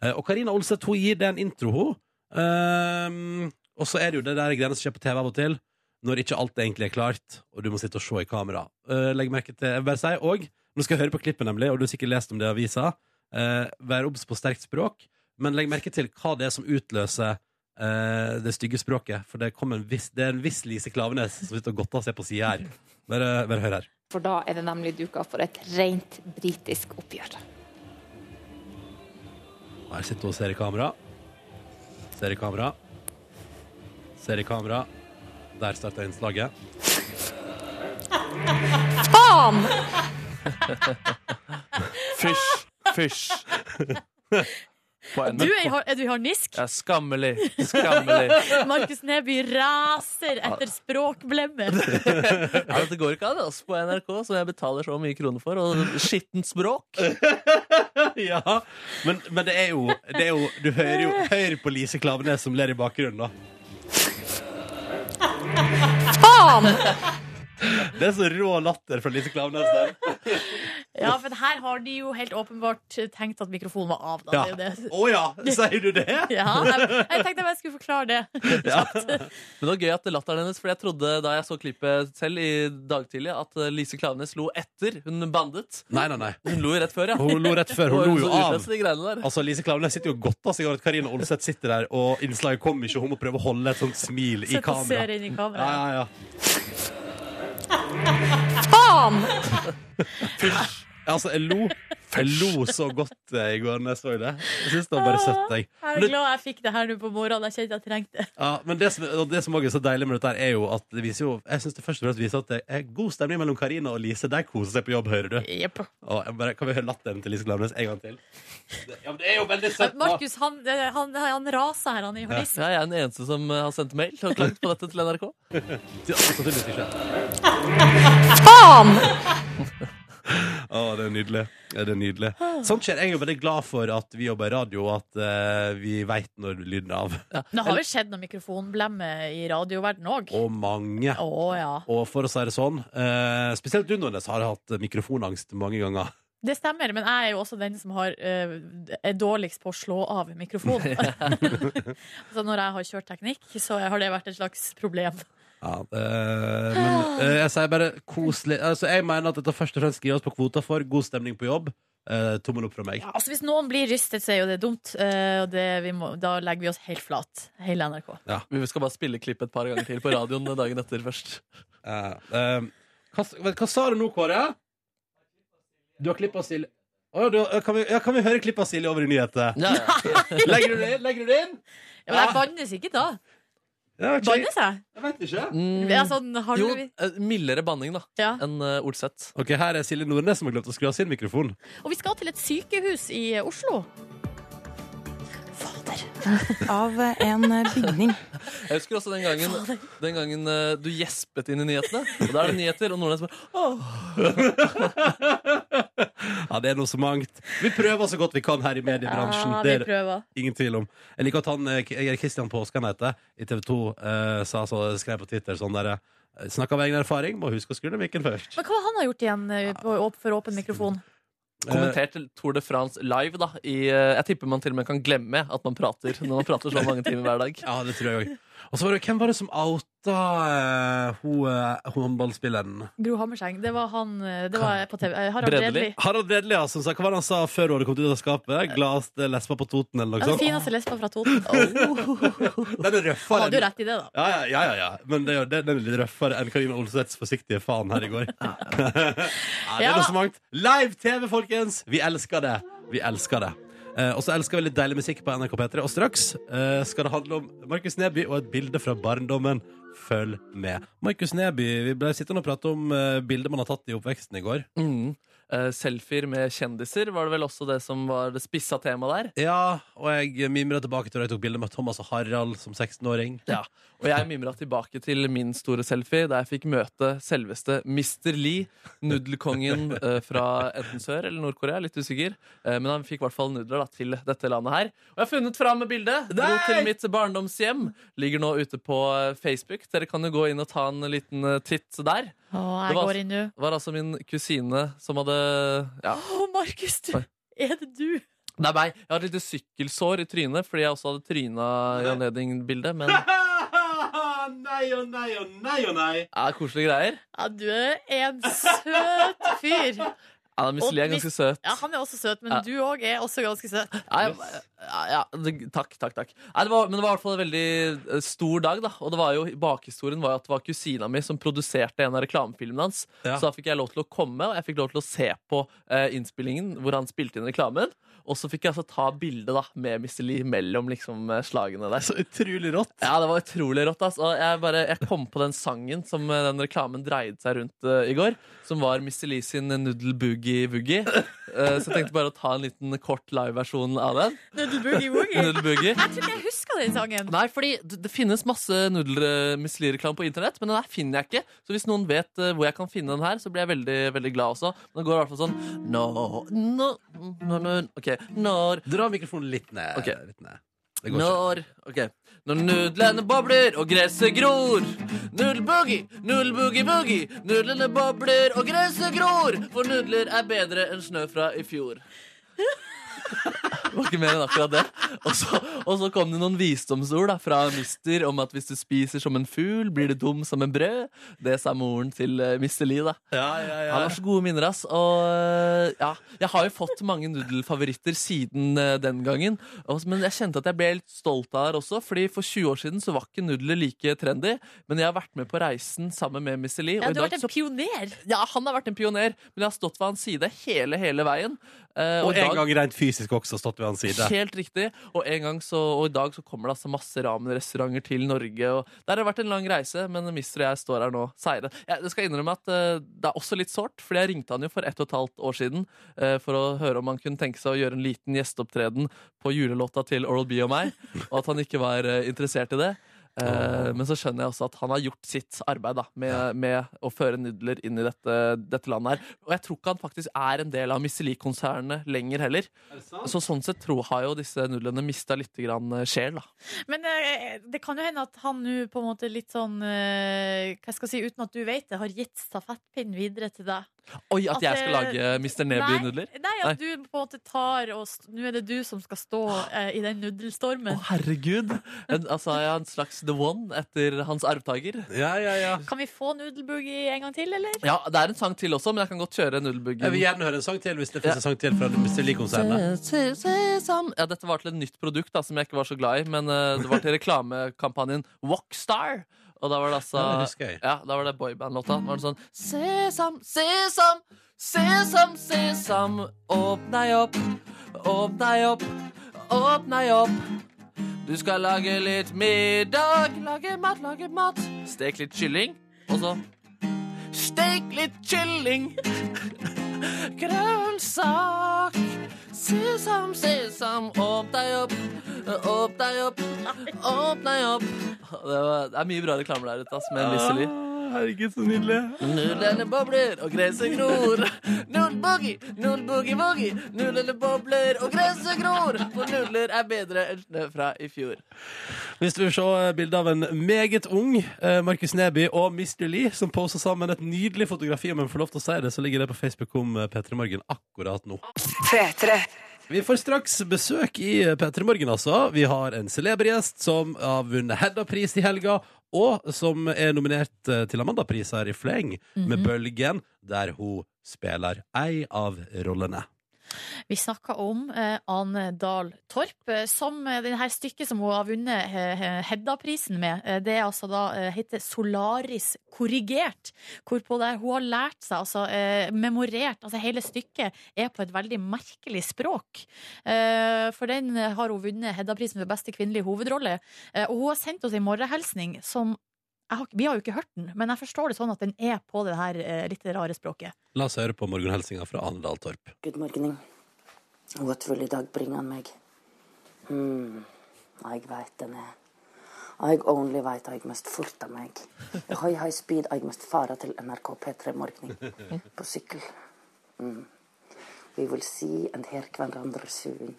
Eh, Og Karina Olseth hun gir det en intro, hun. Ehm, og så er det jo det der greiene som skjer på TV av og til, når ikke alt egentlig er klart, og du må sitte og se i kamera. Eh, legg merke til jeg vil bare si, og, Nå skal jeg høre på klippet, nemlig, og du har sikkert lest om det i avisa. Eh, vær obs på sterkt språk, men legg merke til hva det er som utløser eh, det stygge språket. For det, kom en viss, det er en viss Lise Klavenes som sitter og godter seg på sida her. Bare, bare hør her. For da er det nemlig duka for et rent britisk oppgjør. Her sitter hun og ser i kamera. Ser i kamera. Ser i kamera. Der starta innslaget. Faen! Fysj, fysj. På Du er, NRK. i har- er du i harnisk? Ja, skammelig. Skammelig. Markus Neby raser etter språkblemmer. Ja, dette går ikke an altså, på NRK, som jeg betaler så mye kroner for. Og skittent språk. ja, men, men det, er jo, det er jo Du hører jo hører på Lise Klavenes som ler i bakgrunnen, da. Faen! Det er så rå latter fra Lise Klavenes der. Ja, men her har de jo helt åpenbart tenkt at mikrofonen var av. Ja. Da. Det er jo det. Å ja, sier du det? Ja, jeg, jeg tenkte jeg bare skulle forklare det. Men det var gøy at det latteren hennes, for jeg trodde da jeg så klippet selv i dag tidlig, at eh, Lise Klavenes lo etter hun bandet. Nei, nei, nei. Hun lo jo rett før, ja. Hun lo rett før. Hun lo jo så av. utløst i de greiene der. Altså, Lise Klavenes sitter jo og godter seg over at Karina Olseth sitter der, og innslaget kom ikke, og hun må prøve å holde et sånt smil i Sett og ser kamera. inn i Ja, kameraet. ja, ja. Faen! Altså, jeg lo, jeg lo så godt eh, i går når jeg så det. Jeg syns det var bare søtt. Jeg. Jeg er glad jeg fikk det her nå på morgenen. Jeg kjente jeg trengte det. Ja, men det som, og det som også er så deilig med dette, her er jo at det viser jo Jeg syns det først og fremst viser at det er god stemning mellom Karina og Lise. De koser seg på jobb, hører du. Jepp. Og jeg bare, kan vi høre latteren til Lise Glavnes en gang til? Det, ja, men det er jo veldig Men søtt. da. Markus, han, han, han rasa her, han i Altså- harnisk. Ja, jeg er den eneste som eh, har sendt mail og klagt på dette til NRK. Ja, sannsynligvis ikke. Faen! Å, det er nydelig. Ja, det er nydelig. Sånt skjer. Jeg er jo veldig glad for at vi jobber i radio, og at eh, vi veit når lyden er av. Det har vel skjedd noe mikrofonblemme i radioverdenen òg. Og mange. Å ja. Og for å si det sånn, eh, spesielt du, Nordnes, har hatt mikrofonangst mange ganger. Det stemmer, men jeg er jo også den som har, eh, er dårligst på å slå av mikrofonen. så når jeg har kjørt teknikk, så har det vært et slags problem. Ja, det, men eh, jeg sier bare koselig altså, Jeg mener at dette først og fremst skriver oss på kvota for god stemning på jobb. Eh, tommel opp fra meg. Ja, altså Hvis noen blir rystet, så er jo det dumt. eh, og det, vi må, da legger vi oss helt flat, hele NRK. Vi skal bare spille klipp et par ganger til på radioen dagen etter først. Eh, eh, hva, vent, hva sa du nå, Kåre? Du har klippa Silje Å ja, du har- kan, vi, ja, kan vi høre klipp av Silje over i nyheter? Ja, ja. Legger du det inn? Legger du det inn? Ja, men jeg bannes ikke da. Ja, ok. Bannes jeg? jeg vet ikke. Mm, Jeg er sånn, har jo, du... eh, mildere banning da Ja. enn eh, Olseth. Ok, Her er Silje Nordnes som har glemt å skru av sin mikrofon. Og vi skal til et sykehus i eh, Oslo. av en bygning. Jeg husker også den gangen, den gangen eh, du gjespet inn i nyhetene. Og da er det nyheter, og Nordnes bare Åh, Ja, Det er noe så mangt. Vi prøver så godt vi kan her i mediebransjen. Ja, Det vi er- prøver. Ingen tvil om. Jeg liker at han, eh, K- Kristian Påskan heter, i TV 2 eh, sa, så, skrev på Twitter sånn der eh, Snakk av egen erfaring, må huske å skru ned mikken først. Men hva har han har gjort igjen eh, på, åp- for åpen mikrofon? Kommentert Tour de France live, da. I, eh, jeg tipper man til og med kan glemme at man prater når man prater så mange timer hver dag. Ja, det tror jeg òg. Og så var det hvem var det som outa eh, hun eh, håndballspilleren? Gro Hammerseng. Det var han eh, det var på TV. eh, Harald Bredli. Bredli. Harald Bredli, ja, som sa hva var det han sa før hun hadde kommet ut av skapet? Gladeste lesba på Toten, eller Ja, Den noe sånt? fineste lesba fra Toten. Oh. Den er røffere. Hadde jo enn- rett i det, da. Ja, ja, ja, ja, ja. Men det er jo- den er litt røffere enn Karina Olseths forsiktige faen her i går. ja, det er Ja. noe så mangt. Live TV, folkens! Vi elsker det. Vi elsker det. Eh, og så elsker vi litt deilig musikk på NRK P3. Og straks eh, skal det handle om Markus Neby og et bilde fra barndommen. Følg med. Markus Neby, vi ble sittende og prate om eh, bilder man har tatt i oppveksten i går. Mm. Eh, selfier med kjendiser var det vel også det som var det spissa temaet der. Ja, og jeg mimret tilbake til da jeg tok bilde med Thomas og Harald som 16-åring. Ja. Og jeg mimra tilbake til min store selfie, der jeg fikk møte selveste Mr. Lee, nudelkongen eh, fra enten Sør- eller Nord-Korea, litt usikker. Eh, men han fikk i hvert fall nudler da, til dette landet her. Og jeg har funnet fram bildet! Dro Nei! til mitt barndomshjem. Ligger nå ute på eh, Facebook. Dere kan jo gå inn og ta en liten eh, titt der. Å, Det jeg var- går inn nå. Det var altså min kusine som hadde ja, Å, Markus, du! Oi. Er det du? Det er meg. Jeg har et lite sykkelsår i trynet fordi jeg også hadde tryna i anledning bildet. Men det nei og nei og nei og nei. er koselige greier. Ja, du er en søt fyr. Ja, Miss Og Lee er ganske søt. Ja, Han er også søt, men Ja. du òg er også ganske søt. Nei, ja, ja, det, takk, takk. takk Nei, det var, Men det var i hvert fall en veldig eh, stor dag. da Og det var jo, bakhistorien var jo at det var kusina mi som produserte en av reklamefilmene hans. Ja. Så da fikk jeg lov til å komme, og jeg fikk lov til å se på eh, innspillingen hvor han spilte inn reklamen. Og så fikk jeg altså ta bilde da med Mr. Lee mellom liksom, eh, slagene der. Så utrolig rått. Ja, det var utrolig rått. ass. Og jeg, bare, jeg kom på den sangen som eh, den reklamen dreide seg rundt eh, i går, som var Mr. Lee sin Noodle Boogie Woogie. Eh, så jeg tenkte bare å ta en liten kort liveversjon av den. Noodle boogie woogie. Noodle Boogie. Jeg tror ikke jeg husker den sangen. Nei, fordi det, det finnes masse nudler-misli-reklame på internett, men den her finner jeg ikke. Så hvis noen vet eh, hvor jeg kan finne den her, så blir jeg veldig veldig glad også. Men det går i hvert fall sånn no, no, no, no, Ok, når Dra mikrofonen litt ned. Ok. Litt ned. Det går Når ok Når nudlene bobler og gresset gror Nudelboogie, nudelboogie-boogie Nudlene bobler og gresset gror For nudler er bedre enn snø fra i fjor det var ikke mer enn akkurat det og så, og så kom det noen visdomsord da, fra Mister Om at hvis du spiser som en fugl Blir du dum som en brød Det sa moren til eh, Mr. Lee da ikke. Ja, ja, ja. han har så gode minner, ass. Og øh, ja, jeg har jo fått mange nudelfavoritter siden øh, den gangen. Og- Men jeg kjente at jeg ble litt stolt av det her også, Fordi for 20 år siden så var ikke nudler like trendy. Men jeg har vært med på reisen sammen med Mr. Lee. Ja, og i du har dag vært så, en pioner. ja, han har vært en pioner, men jeg har stått ved hans side hele, hele veien. Eh, Og i en dag- gang rent fysisk også stått ved hans side. Helt riktig. Og, en gang så, og i dag så kommer det altså masse ramenrestauranter til Norge. Og der har det vært en lang reise, men mister og jeg står her nå seire. Jeg, jeg skal innrømme at eh, det er også litt sårt, for jeg ringte han jo for ett og et halvt år siden eh, for å høre om han kunne tenke seg å gjøre en liten gjesteopptreden på julelåta til Oral B og meg, og at han ikke var eh, interessert i det. Eh, Men så skjønner jeg også at han har gjort sitt arbeid da, med, med å føre nudler inn i dette, dette landet. her Og jeg tror ikke han faktisk er en del av Misselie-konsernet lenger heller. Så sånn sett tror, har jo disse nudlene mista litt grann eh, sjel, da. Men eh, det kan jo hende at han nå på en måte litt sånn eh, Hva skal jeg si, uten at du vet det, har gitt stafettpinnen videre til deg. Oi, at At jeg skal det- lage eh, Mr. Neby-nudler? Nei, nei, at du på en måte tar og st- Nå er det du som skal stå eh, i den Å, nudelstormen. herregud! En, altså, jeg er en slags The One etter hans arvtaker. Ja, ja, ja. Kan vi få nudelboogie en gang til, eller? Ja, det er en sang til også, men jeg kan godt kjøre Jeg vil nudelbuggen. gjerne høre en sang til hvis det finnes en sang til fra Mr. Lee-konsernet. Ja, dette var til et nytt produkt da, som jeg ikke var så glad i, men eh, det var til reklamekampanjen Walkstar. Og da var det altså Ja, det husker jeg. Ja, da var det boybandlåta. Da var det sånn Sesam, sesam, sesam, sesam. Åpn deg opp, åpn deg opp, åpn deg opp. Du skal lage litt middag, lage mat, lage mat. Stek litt kylling, og så Stek litt kylling. Grønnsak. Sesam, sesam, åpn deg opp, åpn deg opp, åpn deg opp. Det, var, det er mye bra reklame der ute, ass, med Misseli. Ah, Herregud, så nydelig. Nullene bobler og gresset gror. Null boogie, null boogie-woogie. Nullene bobler og gresset gror. For nuller er bedre enn snø fra i fjor. Hvis du vil se eh, bilde av en meget ung eh, Markus Neby og Mr. Lee, som poser sammen et nydelig fotografi, om jeg får lov til å si det, så ligger det på Facebook om eh, P3 Morgen akkurat nå. Vi får straks besøk i eh, P3 Morgen, altså. Vi har en celebergjest som har vunnet Hedda-pris i helga, og som er nominert eh, til Amanda-pris her i fleng, med Bølgen, der hun spiller ei av rollene. Vi snakka om eh, Ane Dahl Torp, eh, som eh, det her stykket som hun har vunnet eh, eh, Hedda-prisen med. Eh, det er altså da eh, heter Solaris korrigert. Hvorpå der hun har lært seg, altså eh, memorert Altså hele stykket er på et veldig merkelig språk. Eh, for den eh, har hun vunnet Hedda-prisen for beste kvinnelige hovedrolle. Eh, og hun har sendt oss en morgenhilsning som jeg har, Vi har jo ikke hørt den, men jeg forstår det sånn at den er på det her eh, litt rare språket. La oss høre på morgenhelsinga fra Ane Dahl Torp. Good morning. What will i dag bringe han meg? Hmm, jeg veit den er. Jeg only veit jeg must forte meg. I høy, høy speed jeg must fare til NRK P3 morgen på sykkel. Mm. We will see and hear hverandre soon.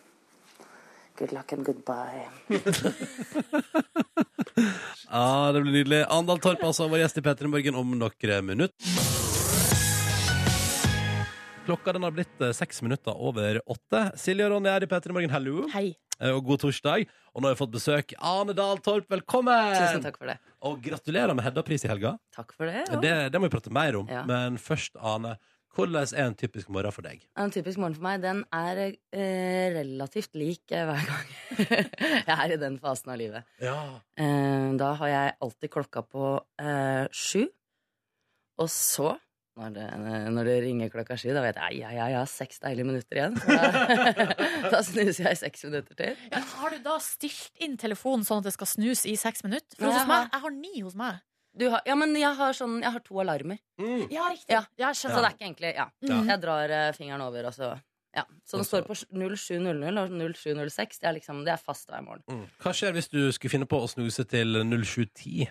Good luck and goodbye. Ja, Ah, det blir nydelig. Andal Torp, altså, vår gjest i P3 Morgen om noen minutter. Klokka den har blitt eh, seks minutter over åtte. Silje og Ronny er i P3 Morgen, hallo. Hei. Eh, Og god torsdag. Og nå har vi fått besøk. Ane Dahl Torp, velkommen! Tusen takk for det. Og gratulerer med Hedda-pris i helga. Takk for det. Det, det må vi prate mer om. Ja. Men først, Ane. Hvordan er en typisk morgen for deg? En typisk morgen for meg, den er eh, relativt lik eh, hver gang jeg er i den fasen av livet. Ja. Eh, da har jeg alltid klokka på eh, sju. Og så, når det, når det ringer klokka sju, da vet jeg ja, ja, jeg har seks deilige minutter igjen. Så da, da snuser jeg seks minutter til. Ja, har du da stilt inn telefonen sånn at det skal snus i seks minutter? For Nei, hos jeg meg, har- jeg har ni hos meg. Du har, ja, men jeg har, sånn, jeg har to alarmer. Mm. Ja, riktig. Ja. jeg Så det skjønner. er ikke egentlig Ja. Ja. Jeg drar eh, fingeren over, og så ja. Så Og den så- står på 0700 og 0706. Det er, liksom, det er fast hver morgen. Mm. Hva skjer hvis du skulle finne på å snuse til 0710?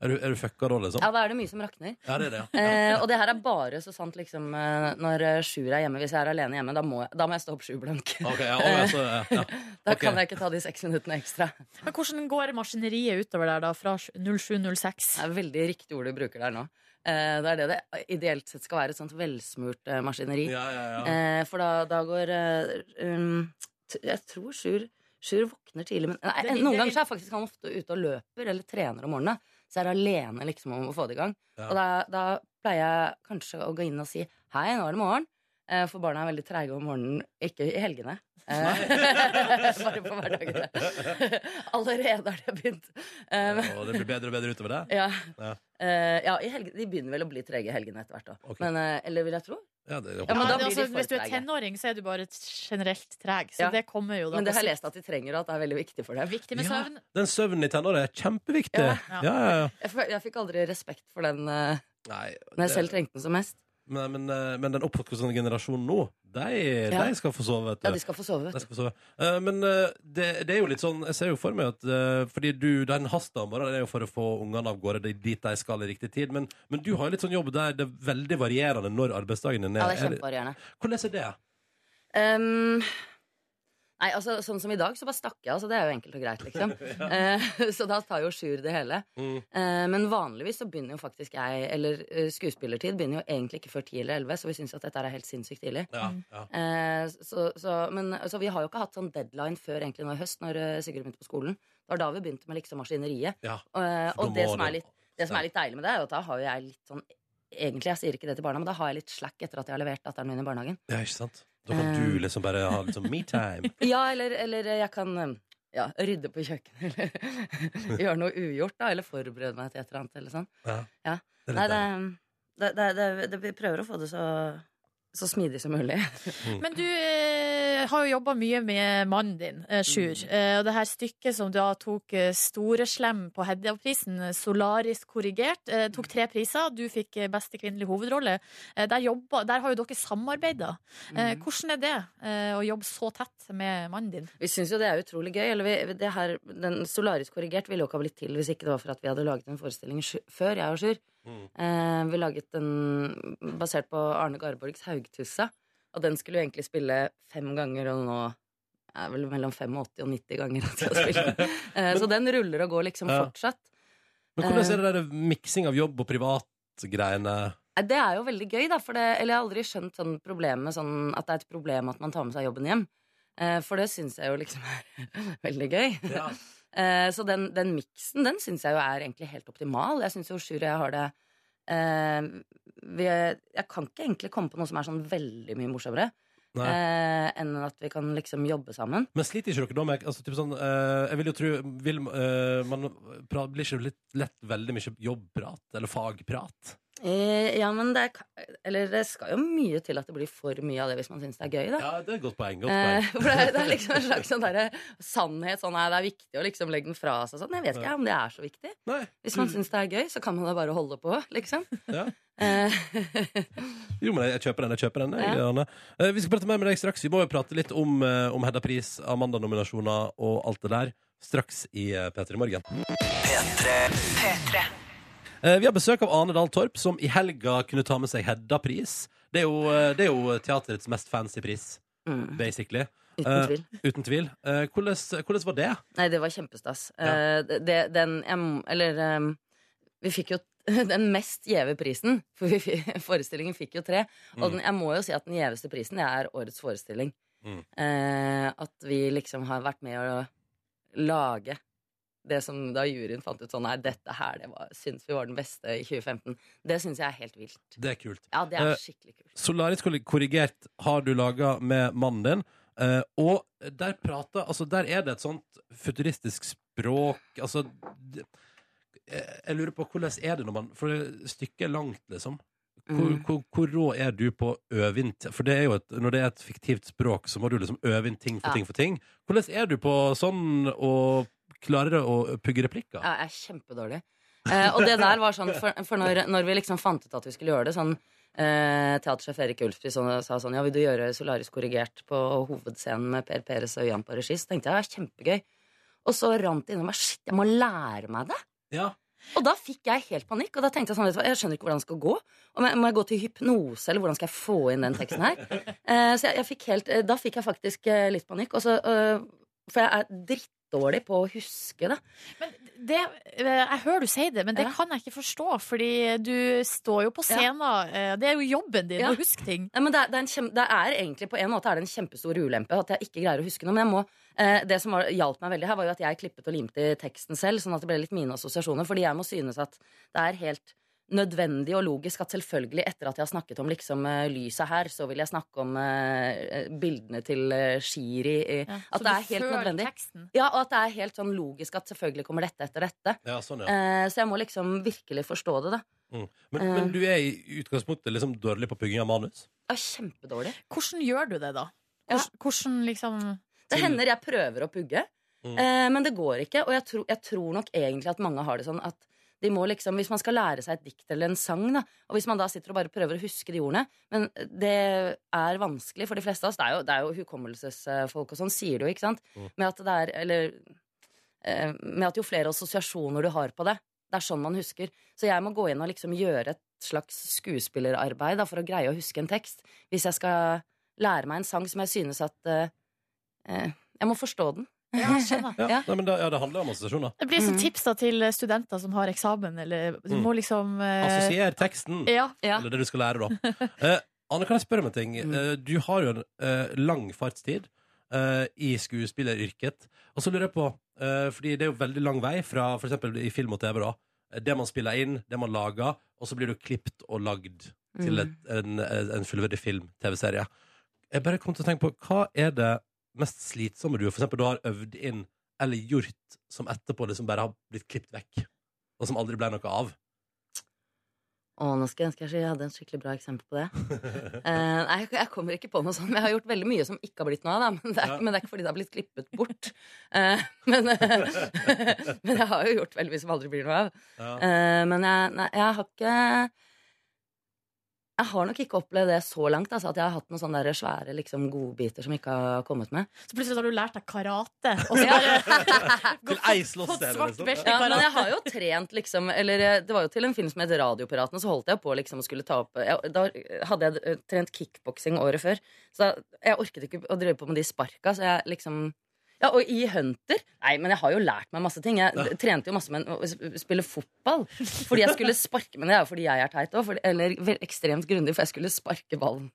Er du, er du fucka da, liksom? Ja, da er det mye som rakner. Ja, det er det. ja. Eh, og det her er bare så sant liksom eh, når eh, sjuer er hjemme. Hvis jeg er alene hjemme, da må jeg, da må jeg stå opp sju blank. Ok, ja, å, ja, så, ja, ja. Da ok. kan jeg ikke ta de seks minuttene ekstra. Men hvordan går maskineriet utover der, da, fra 0706? Det er veldig riktig ord du bruker der nå. Eh, det er det det ideelt sett skal være. Et sånt velsmurt eh, maskineri. Ja, ja, ja. Eh, for da, da går eh, um, t Jeg tror Sjur Sjur våkner tidlig, men nei, Det- det- noen det- ganger så er faktisk han ofte ute og løper eller trener om morgenen. Så jeg er alene liksom om å få det i gang. Ja. Og da, da pleier jeg kanskje å gå inn og si hei, nå er det morgen. Eh, For barna er veldig treige om morgenen. Ikke i helgene. Eh, Bare på hverdagene. Allerede har det begynt. Eh, Og det blir bedre og bedre utover det? ja. Ja. Eh, ja, i helgen, De begynner vel å bli trege i helgene etter hvert. da. Ok. Men, eh, eller vil jeg tro. Ja, det, Ja, men da det er blir altså, de for hvis du er trege. tenåring, så er du bare generelt treg. Så Ja. det kommer jo da. Men det på har jeg altså- lest sikt. at de trenger, og at det er veldig viktig for dem. Viktig med Ja. søvn. Den søvnen i tenåra er kjempeviktig. Ja, Ja, ja. ja, ja. Jeg, f- jeg fikk aldri respekt for den eh, Nei, når jeg det- selv trengte den som mest. Nei, men, eh, men den oppvoksende generasjonen nå, de, Ja. de skal få sove, vet du. Ja, de skal få sove. De vet du. skal få sove. Eh, men eh, det, det er jo litt sånn Jeg ser jo for meg at eh, Fordi du, den hasta om morgenen er jo for å få ungene av gårde de- dit de skal i riktig tid. Men, men du har jo litt sånn jobb der det er veldig varierende når arbeidsdagen din er. Ja, det er Er det- kjempevarierende. Hvordan er det? Ehm, nei, altså sånn som i dag, så bare stakk jeg. Altså, det er jo enkelt og greit, liksom. Eh, så da tar jo Sjur det hele. Mm. Eh, men vanligvis så begynner jo faktisk jeg, eller eh, skuespillertid, begynner jo egentlig ikke før ti eller elleve, så vi syns jo at dette her er helt sinnssykt tidlig. Ja, ja. Eh, så, så, men, så vi har jo ikke hatt sånn deadline før egentlig nå i høst, når eh, Sigurd begynte på skolen. Det var da vi begynte med liksom maskineriet. ja. Eh, For da og det må som, du- er litt, det som Ja. er litt deilig med det, er jo at da har jo jeg litt sånn Egentlig, jeg sier ikke det til barna, men da har jeg litt slack etter at jeg har levert datteren min i barnehagen. ja, ikke sant? Da kan du Eh. liksom bare ha litt sånn me-time. Ja, eller, eller jeg kan eh, ja, rydde på kjøkkenet, eller gjøre noe ugjort, da, eller forberede meg til et eller annet, eller sånn. Ja. Ja. Det er litt Nei, det, deilig. det, det, det, det, vi prøver å få det så, så smidig som mulig. Men du eh, har jo jobba mye med mannen din, eh, Sjur. Eh, og det her stykket som da tok eh, store slem på Hedda-prisen, eh, Solaris korrigert, eh, tok tre priser. Du fikk eh, beste kvinnelige hovedrolle. Eh, der, jobba, der har jo dere samarbeida. Eh, hvordan er det eh, å jobbe så tett med mannen din? Vi syns jo det er utrolig gøy. Eller vi, det her, den Solaris korrigert ville jo ikke ha blitt til hvis ikke det var for at vi hadde laget en forestilling sj- før, jeg og Sjur. Eh, vi laget en basert på Arne Garborgs Haugtussa. Og den skulle jo egentlig spille fem ganger, og nå er det vel mellom 85 og 90 ganger. At jeg har spilt. den. eh, så den ruller og går liksom Ja. fortsatt. Men eh, hvordan er det der miksing av jobb og privatgreiene? Nei, Eh, Det er jo veldig gøy, da. For det, eller jeg har aldri skjønt sånn problemet, sånn at det er et problem at man tar med seg jobben hjem. Eh, for det syns jeg jo liksom er veldig gøy. eh, så den, den miksen, den syns jeg jo er egentlig helt optimal. Jeg syns jo Sjur og jeg har det eh, vi, Jeg kan ikke egentlig komme på noe som er sånn veldig mye morsommere Nei. eh, enn at vi kan liksom jobbe sammen. Men sliter ikke dere da med altså, typ sånn, eh, Jeg vil jo tro vil, eh, Man pra, blir ikke litt, lett veldig mye jobbprat eller fagprat? Eh, ja, men det, er, ka- eller det skal jo mye til at det blir for mye av det hvis man syns det er gøy, da. Ja, det er et godt poeng. Godt Eh, poeng. for det, er- det er liksom en slags sånn derre sannhet. Sånn, nei, det er viktig å liksom legge den fra seg. Sånn. Jeg vet ikke Ja. Mm. om det er så viktig. Nei. Hvis man syns det er gøy, så kan man da bare holde på, liksom. Ja. Eh, Jo, men jeg, jeg kjøper den. jeg kjøper den jeg, Anne. Eh, Vi skal prate mer med deg straks. Vi må jo prate litt om, eh, om Hedda Pris, Amanda-nominasjoner og alt det der straks i eh, P3 Morgen. Eh, Vi har besøk av Ane Dahl Torp, som i helga kunne ta med seg Hedda-pris. Det, er jo, eh, det er jo teaterets mest fancy pris, Mm. basically. Uten tvil. Eh, uten tvil. Eh, hvordan, hvordan var det? nei, det var kjempestas. Eh, det, den jeg, må- Eller eh, Vi fikk jo den mest gjeve prisen. For vi, fikk- forestillingen fikk jo tre. Mm. Og den, jeg må jo si at den gjeveste prisen det er årets forestilling. Mm. Eh, at vi liksom har vært med å lage det som da juryen fant ut sånn Nei, dette her det var, syns vi var den beste i 2015. Det syns jeg er helt vilt. Det er kult. Ja, det er Eh, skikkelig kult. Solarisk korrigert har du laga med mannen din. eh, og der prater Altså, der er det et sånt futuristisk språk Altså d- eh, Jeg lurer på hvordan er det når man For det stykket er langt, liksom. Hvor, Mm. hvor, hvor rå er du på å øve inn t- For det er jo et, når det er et fiktivt språk, så må du liksom øve inn ting for Ja. ting for ting. Hvordan er du på sånn å klare å pugge replikker? Ja, jeg er kjempedårlig. Eh, og det der var sånn, for, for når, når vi liksom fant ut at vi skulle gjøre det, sånn eh, Teatersjef Erik Ulfby sånn, sa sånn Ja, vil du gjøre Solaris korrigert på hovedscenen med Per Peres og Jan på regi? Så tenkte jeg ja, kjempegøy. Og så rant det innom meg shit, jeg må lære meg det. Ja. Og da fikk jeg helt panikk. Og da tenkte jeg sånn, vet du hva, jeg skjønner ikke hvordan det skal gå. Og må jeg- må jeg gå til hypnose, eller hvordan skal jeg få inn den teksten her? Eh, så jeg, jeg fikk helt, eh, da fikk jeg faktisk eh, litt panikk. Og så, eh, for jeg er drittdårlig på å huske det. det, eh, jeg hører du sier det, men det kan jeg ikke forstå, fordi du står jo på scenen. eh, Det er jo jobben din Ja. å huske ting. Nei, men det, er, det, er en kjem, det er egentlig på en måte er det en kjempestor ulempe at jeg ikke greier å huske noe. Men jeg må, eh, det som var, hjalp meg veldig her, var jo at jeg klippet og limte i teksten selv, sånn at det ble litt mine assosiasjoner. Fordi jeg må synes at det er helt nødvendig og logisk at selvfølgelig etter at jeg har snakket om liksom eh, lyset her, så vil jeg snakke om eh, bildene til eh, Shiri. eh, så at det du er helt føler nødvendig. teksten. Ja, og at det er helt sånn logisk at selvfølgelig kommer dette etter dette. Ja, sånn, ja. Eh, så jeg må liksom virkelig forstå det, da. Mm. Men, men du er i utgangspunktet liksom dårlig på pugging av manus? Det er kjempedårlig. Hvordan gjør du det, da? Hvordan, hvordan liksom Det hender jeg prøver å pugge, Mm. eh, men det går ikke. Og jeg, tror- jeg tror nok egentlig at mange har det sånn at de må liksom, hvis man skal lære seg et dikt eller en sang, da, og hvis man da sitter og bare prøver å huske de ordene Men det er vanskelig for de fleste av oss. Det er jo, det er jo hukommelsesfolk og sånn, sier det jo, ikke sant? Mm. Med at det er Eller eh, med at jo flere assosiasjoner du har på det, det er sånn man husker. Så jeg må gå inn og liksom gjøre et slags skuespillerarbeid da, for å greie å huske en tekst. Hvis jeg skal lære meg en sang som jeg synes at eh, Eh, jeg må forstå den. Ja, Nei, men da, ja, det handler om assosiasjoner. Det blir som tips da til studenter som har eksamen, eller du Mm. må liksom eh, Assosier teksten. Ja. Eller det du skal lære, da. Eh, Anne, kan jeg spørre om en ting? Eh, du har jo en eh, lang fartstid eh, i skuespilleryrket. Og så lurer jeg på, eh, fordi det er jo veldig lang vei fra f.eks. i film og TV, da. Eh, Det man spiller inn, det man lager, og så blir du klippet og lagd til et, en, en fullverdig film, TV-serie. Jeg bare kom til å tenke på, hva er det mest slitsomme du, for eksempel, du har øvd inn eller gjort, som etterpå liksom bare har blitt klippet vekk, og som aldri ble noe av? Å, nå skal jeg ønske jeg hadde en skikkelig bra eksempel på det. Eh, nei, jeg kommer ikke på noe sånt. men Jeg har gjort veldig mye som ikke har blitt noe av, da. Men det er, ikke- men det er ikke fordi det har blitt klippet bort. Eh, men, men jeg har jo gjort Eh, veldig mye som aldri blir noe av. Ja. Eh, men jeg, nei, jeg har ikke Jeg har nok ikke opplevd det så langt. Altså, at jeg har hatt noen sånne der svære liksom, godbiter som ikke har kommet med. Så plutselig har du lært deg karate. Og så bare Til ei slåssserie, svart liksom. belte i Ja, men karate. jeg har jo trent, liksom Eller eh, det var jo til en film som het Radiopiratene, så holdt jeg på liksom og skulle ta opp jeg, Da hadde jeg eh, trent kickboksing året før, så da, jeg orket ikke å drive på med de sparka, så jeg liksom ja, Og i Hunter Nei, men jeg har jo lært meg masse ting. Jeg d- trente jo masse med å sp- spille fotball. Fordi jeg skulle sparke Men det er jo fordi jeg er teit òg. Eller vel, ekstremt grundig, for jeg skulle sparke ballen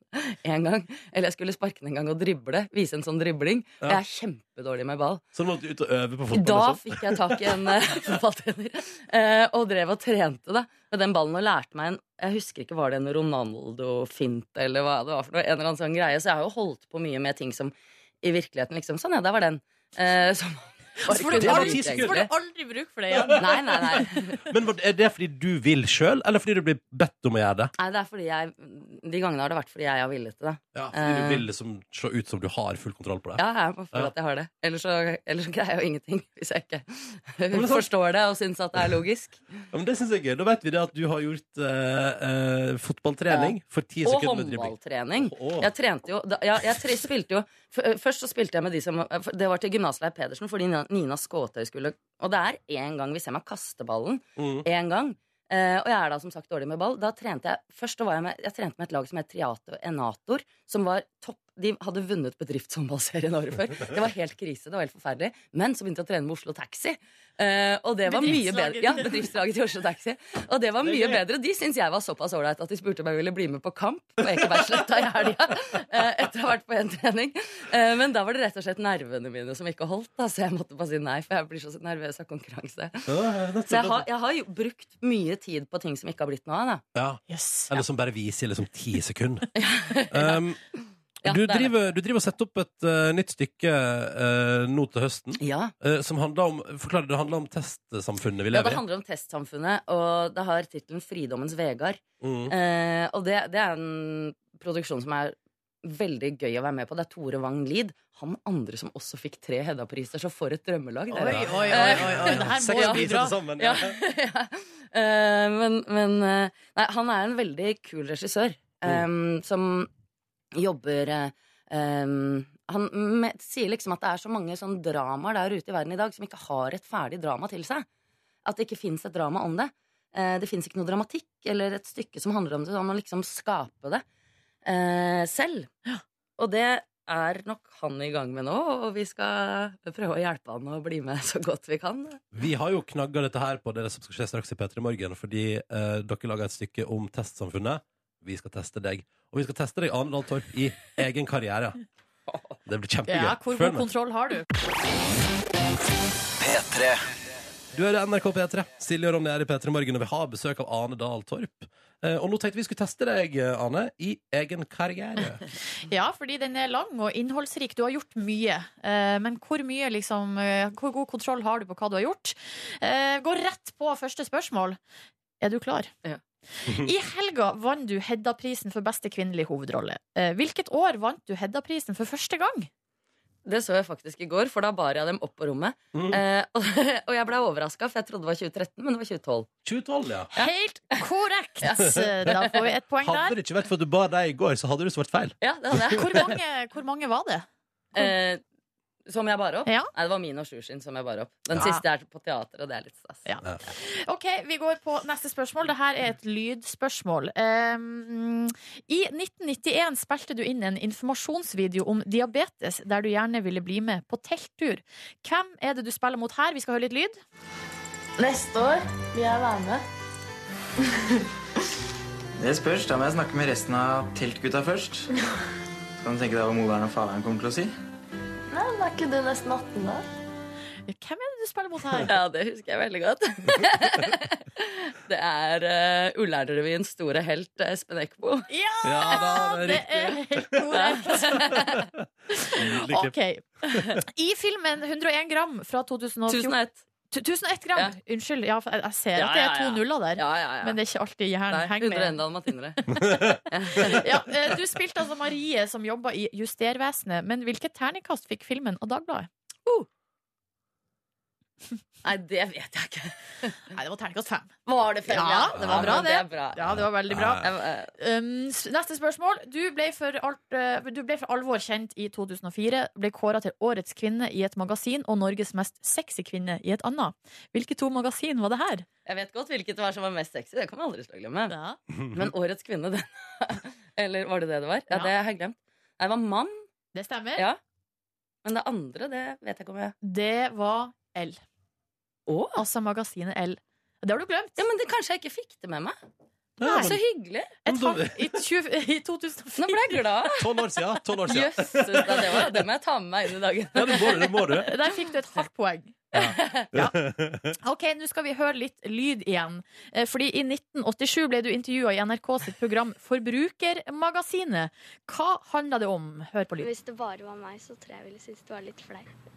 én gang. Eller jeg skulle sparke den en gang og drible. Vise en sånn dribling. Og Ja. jeg er kjempedårlig med ball. Så du måtte ut og øve på fotball? Da og sånn? fikk jeg tak i en eh, fotballtrener eh, og drev og trente da, med den ballen og lærte meg en Jeg husker ikke, var det en Ronaldo-fint eller hva det var for noe? En eller annen sånn greie. Så jeg har jo holdt på mye med ting som i virkeligheten liksom Sånn, ja, der var den. Eh, som Så får du Det var aldri- ti så sekunder. får du aldri bruk for det igjen. Nei, nei, nei. Men var- er det fordi du vil sjøl, eller fordi du blir bedt om å gjøre det? nei det er fordi jeg, de gangene har det vært fordi jeg har villet det. da. Ja, fordi du Eh. vil liksom se ut som du har full kontroll på det? Ja, jeg må føle Ja. at jeg har det. Ellers så, ellers så greier jeg jo ingenting hvis jeg men sånn- ikke sant. forstår det og syns at det er logisk. Ja, men Det syns jeg er gøy. Da vet vi det at du har gjort eh, eh, fotballtrening for ti Og sekunder med dribbling. håndballtrening. Åh. Jeg trente jo da, ja, Jeg tre- spilte jo f- Først så spilte jeg med de som Det var til Gymnasleir Pedersen, fordi Nina- Nina Skåtøy skulle Og det er én gang vi ser meg kaste ballen. Mm. Én gang. Eh, og jeg er da som sagt dårlig med ball. Da trente jeg Først så var jeg med Jeg trente med et lag som het Triato Enator, som var topp de hadde vunnet bedriftshåndballserien året før. Det var helt krise. det var helt forferdelig Men så begynte jeg å trene med Oslo Taxi. Eh, og det var mye bedre Bedriftslaget. Ja, bedriftslaget til Oslo Taxi. Og det var Det er mye gøy. bedre. De syntes jeg var såpass ålreit at de spurte om jeg ville bli med på kamp på Ekebergsletta i helga. eh, etter å ha vært på en trening. Eh, men da var det rett og slett nervene mine som ikke holdt. Da, så jeg måtte bare si nei, for jeg blir så nervøs av konkurranse. Ja, nettopp. Så jeg har, jeg har jo brukt mye tid på ting som ikke har blitt noe av. Da. ja. Yes. Eller som bare viser liksom ti sekunder. Um, Ja, du, det er det. driver, du driver og setter opp et eh, nytt stykke eh, nå til høsten, Ja. eh, som handler om Forklar det. Det handler om testsamfunnet vi ja, Det lever i. handler om testsamfunnet, og det har tittelen 'Fridommens Vegard'. Mm. Eh, og det, det er en produksjon som er veldig gøy å være med på. Det er Tore Wang Lid. Han andre som også fikk tre Hedda-priser, så for et drømmelag. dere. Oi, oi, oi, oi, oi. Eh, Det her må Seks jo bli priser bra. til sammen. Ja. ja. Eh, men men eh, nei, han er en veldig kul regissør eh, som jobber eh, eh, Han me- sier liksom at det er så mange sånn dramaer der ute i verden i dag som ikke har et ferdig drama til seg. At det ikke fins et drama om det. Eh, det fins ikke noe dramatikk eller et stykke som handler om det. så Han må liksom skape det eh, selv. Og det er nok han i gang med nå, og vi skal prøve å hjelpe han å bli med så godt vi kan. Vi har jo knagga dette her på det som skal skje straks i P3 Morgen, fordi eh, dere laga et stykke om testsamfunnet. Vi skal teste deg. Og vi skal teste deg, Ane Dahl Torp, i egen karriere. Det blir kjempegøy. Ja, hvor Følg god med. kontroll har du? Du hører NRK P3. Silje og Ronny er i P3 Morgen, og vi har besøk av Ane Dahl Torp. Eh, og nå tenkte vi skulle teste deg, eh, Ane, i egen karriere. Ja, fordi den er lang og innholdsrik. Du har gjort mye. Eh, Men hvor mye liksom eh, Hvor god kontroll har du på hva du har gjort? Eh, Gå rett på første spørsmål. Er du klar? Ja. I helga vant du Hedda-prisen for beste kvinnelige hovedrolle. Eh, Hvilket år vant du Hedda-prisen for første gang? Det så jeg faktisk i går, for da bar jeg dem opp på rommet. Mm. Eh, og, og jeg ble overraska, for jeg trodde det var 2013, men det var 2012. 2012, ja. Helt korrekt! Da får vi et poeng Hadde der. det ikke vært for at du bar deg i går, så hadde det svart feil. Ja, det hadde jeg. Hvor mange, hvor mange var det? Eh, som jeg bar opp? Ja. Nei, det var min og Shushin som jeg bar opp. Den Ja. siste er på teater, og det er litt stas. Ja. Ok, vi går på neste spørsmål. Dette er et lydspørsmål. Um, I 1991 spilte du inn en informasjonsvideo om diabetes, der du gjerne ville bli med på telttur. Hvem er det du spiller mot her? Vi skal høre litt lyd. Neste år vil jeg være med. Det spørs. Da må jeg snakke med resten av teltgutta først. Kan du tenke deg hva moderen og faderen kommer til å si? Nei, men Er ikke du nesten 18 da? Hvem er det du spiller mot her? Ja, det husker jeg veldig godt. det er uh, Ullernrevyens store helt eh, Espen Eckbo. Ja, Ja, da, det er helt korrekt. Nydelig klipp. Ok. I filmen 101 gram fra 2014 1001. 1001 gram! Unnskyld, ja, for jeg jeg ser Ja, at det er ja, ja. to nuller der. Ja, ja, ja. Men det er ikke alltid Nei, hjernen henger med. 101 dalmatinere. Ja, eh, du spilte altså Marie som jobba i Justervesenet, men hvilket terningkast fikk filmen av Dagbladet? Nei, det vet jeg ikke. Nei, det var terningkast fem. Var det fem? Ja, det var bra, det. er bra. Ja, det var veldig bra. Jeg eh, var- Um, s- neste spørsmål. Du ble for, alt, eh, du ble for alvor kjent i 2004. Ble kåra til Årets kvinne i et magasin og Norges mest sexy kvinne i et annet. Hvilke to magasin var det her? Jeg vet godt hvilket det var som var mest sexy. Det kan man aldri slå glemme. Men Årets kvinne, den Eller var det det det var? Mhm. Ja, Ja. det har jeg glemt. Nei, det var mann. Det stemmer. Ja. Men det andre, det vet jeg ikke om jeg Det var L. Altså magasinet L. Det har du glemt. Ja, men det, Kanskje jeg ikke fikk det med meg. Nei. Så hyggelig. Et halvt- i, 20, I 2004. Nå ble jeg glad. Tolv år siden. 12 år siden. Jøsses, da, det, var- det må jeg ta med meg inn i dagen. Ja, det må du. Det må du. Der fikk du et halvt poeng. Ok, Nå skal vi høre litt lyd igjen. Eh, Fordi I 1987 ble du intervjua i NRK sitt program Forbrukermagasinet. Hva handla det om? Hør på lyd. Hvis det bare var meg, så tror jeg jeg ville synes det var litt flaut.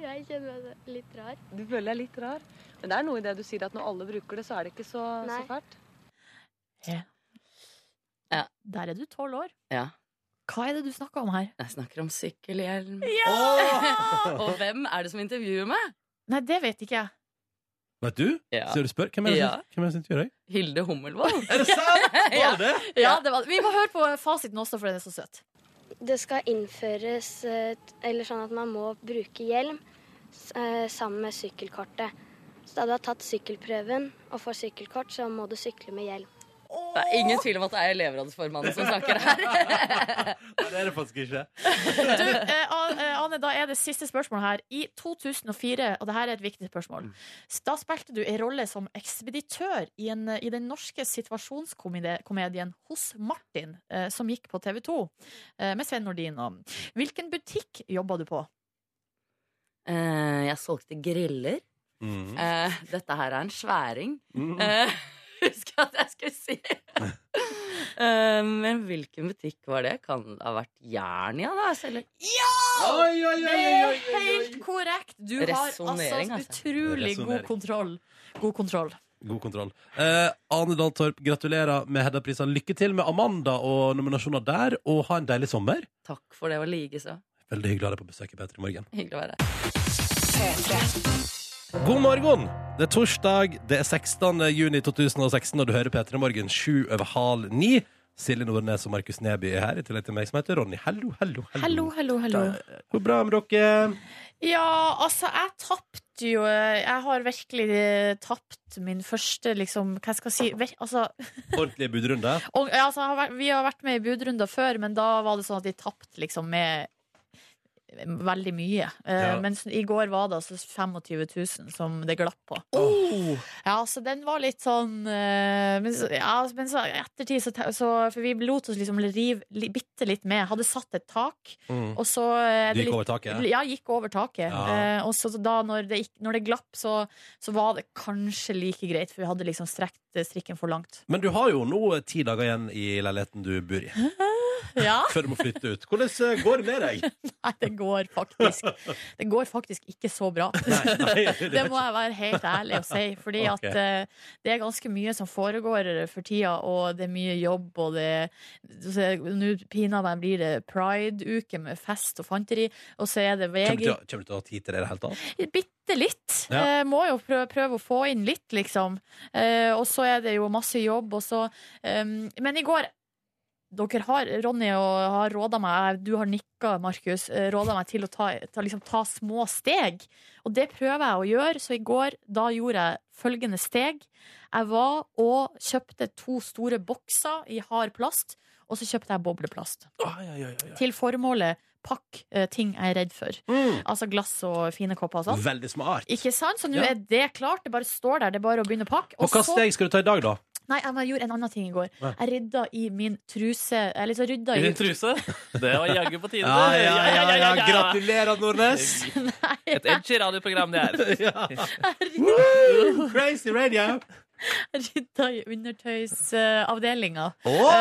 jeg kjenner meg så- litt rar. Du føler deg litt rar. Men det er noe i det du sier at når alle bruker det, så er det ikke så, så Nei. fælt. Ja. Der er du tolv år. Ja. Hva er det du snakker om her? Jeg snakker om sykkelhjelm. Ja! Og hvem er det som intervjuer meg? Nei, det vet ikke jeg. Vet du? Ja. Så du spør? Hvem er det Ja. som- hvem er det som intervjuer deg? Hilde Hummelvold. Er det sant? Var det? Ja, det var, vi må høre på fasiten også, for den er så søt. Det skal innføres eh, t- eller sånn at man må bruke hjelm s- eh, sammen med sykkelkortet. Så da du har tatt sykkelprøven og får sykkelkort, så må du sykle med hjelm. Det er ingen tvil om at det er elevrådsformannen som snakker her. Nei, det er det faktisk ikke. Du, eh, A- eh, Ane, da er det siste spørsmål her. I 2004, og det her er et viktig spørsmål, Mm. s- da spilte du en rolle som ekspeditør i, en, eh, i den norske situasjonskomedien Hos Martin, eh, som gikk på TV 2, eh, med Sven Nordin. og- Hvilken butikk jobba du på? Eh, jeg solgte griller. Mhm. Eh, dette her er en sværing. Mhm. Eh, Husk at jeg skulle si Eh, Men hvilken butikk var det? Kan det ha vært Jernia, da? Eller Ja! Oi, oi, oi, det oi, er oi, oi, oi. helt korrekt! Du har Resonering, altså altså. utrolig god Resonering. kontroll. God kontroll. God kontroll. Eh, Ane Dahl Torp, gratulerer med Hedda-prisen. Lykke til med Amanda og nominasjoner der, og ha en deilig sommer. Takk for det var likeså. Veldig hyggelig å ha deg på besøk i Petter i morgen. Hyggelig å være her. God morgen! Det er torsdag, det er 16. juni 2016, og du hører P3 Morgen sju over halv ni. Silje Nordnes og Markus Neby er her, i tillegg til meg som heter Ronny. Hallo, hallo, hallo. Hallo, hallo, hallo. Hvor bra med dere? Ja, altså, jeg tapte jo eh, Jeg har virkelig eh, tapt min første, liksom Hva skal jeg si? Vir altså, Ordentlig budrunde. og, ja, altså, jeg har vært, vi har vært med i budrunder før, men da var det sånn at de tapte liksom med Veldig mye. Eh, Ja. Mens i går var det altså 25 000 som det glapp på. Ja, så den var litt sånn eh, Men, så, ja, men så, i ettertid så, te- så For vi lot oss liksom rive li, bitte litt med. Hadde satt et tak. Mm. Og så eh, Du det gikk litt- over taket? Ja, gikk over taket. Ja. Eh, og så så da når det, gikk, når det glapp, så, så var det kanskje like greit, for vi hadde liksom strekt eh, strikken for langt. Men du har jo nå ti dager igjen i leiligheten du bor i, Ja, før du må flytte ut. Hvordan eh, går det med deg? Nei, det går faktisk Det går faktisk ikke så bra. nei, det er det må jeg være helt ærlig og si. Fordi Ok. at eh, det er ganske mye som foregår for tida, og det er mye jobb, og det så Nå pinadø blir det pride-uke med fest og fanteri, og så er det Kommer du VG til å- kommer du til å ha tid til det i det hele tatt? Bitte litt. Ja. Eh, må jo prøve, prøve å få inn litt, liksom. Eh, og så er det jo masse jobb, og så ehm, Men i går dere har, Ronny og har råda meg, du har nikka, Markus, eh, råda meg til å ta, ta, liksom, ta små steg. Og det prøver jeg å gjøre, så i går da gjorde jeg følgende steg. Jeg var og kjøpte to store bokser i hard plast, og så kjøpte jeg bobleplast til formålet pakk eh, ting jeg er redd for. Altså glass og fine kopper og sånn. Mm. Veldig smart. Ikke sant? Så nå Ja. er det klart. Det bare står der. Det er bare å begynne å pakke. Og hva så- steg skal du ta i dag, da? Nei, jeg bare gjorde en annen ting i går. Ja. Jeg rydda i min truse Eller så rydda I i din truse? Det var jaggu på tide. Ja, ja, ja, ja, ja. Gratulerer, Nordnes! Et edgy radioprogram, det er. Woo! Crazy radio! Jeg rydda i undertøysavdelinga. Åh!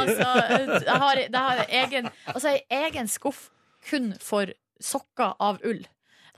altså, eh, jeg har, jeg har egen, altså, en egen skuff kun for sokker av ull.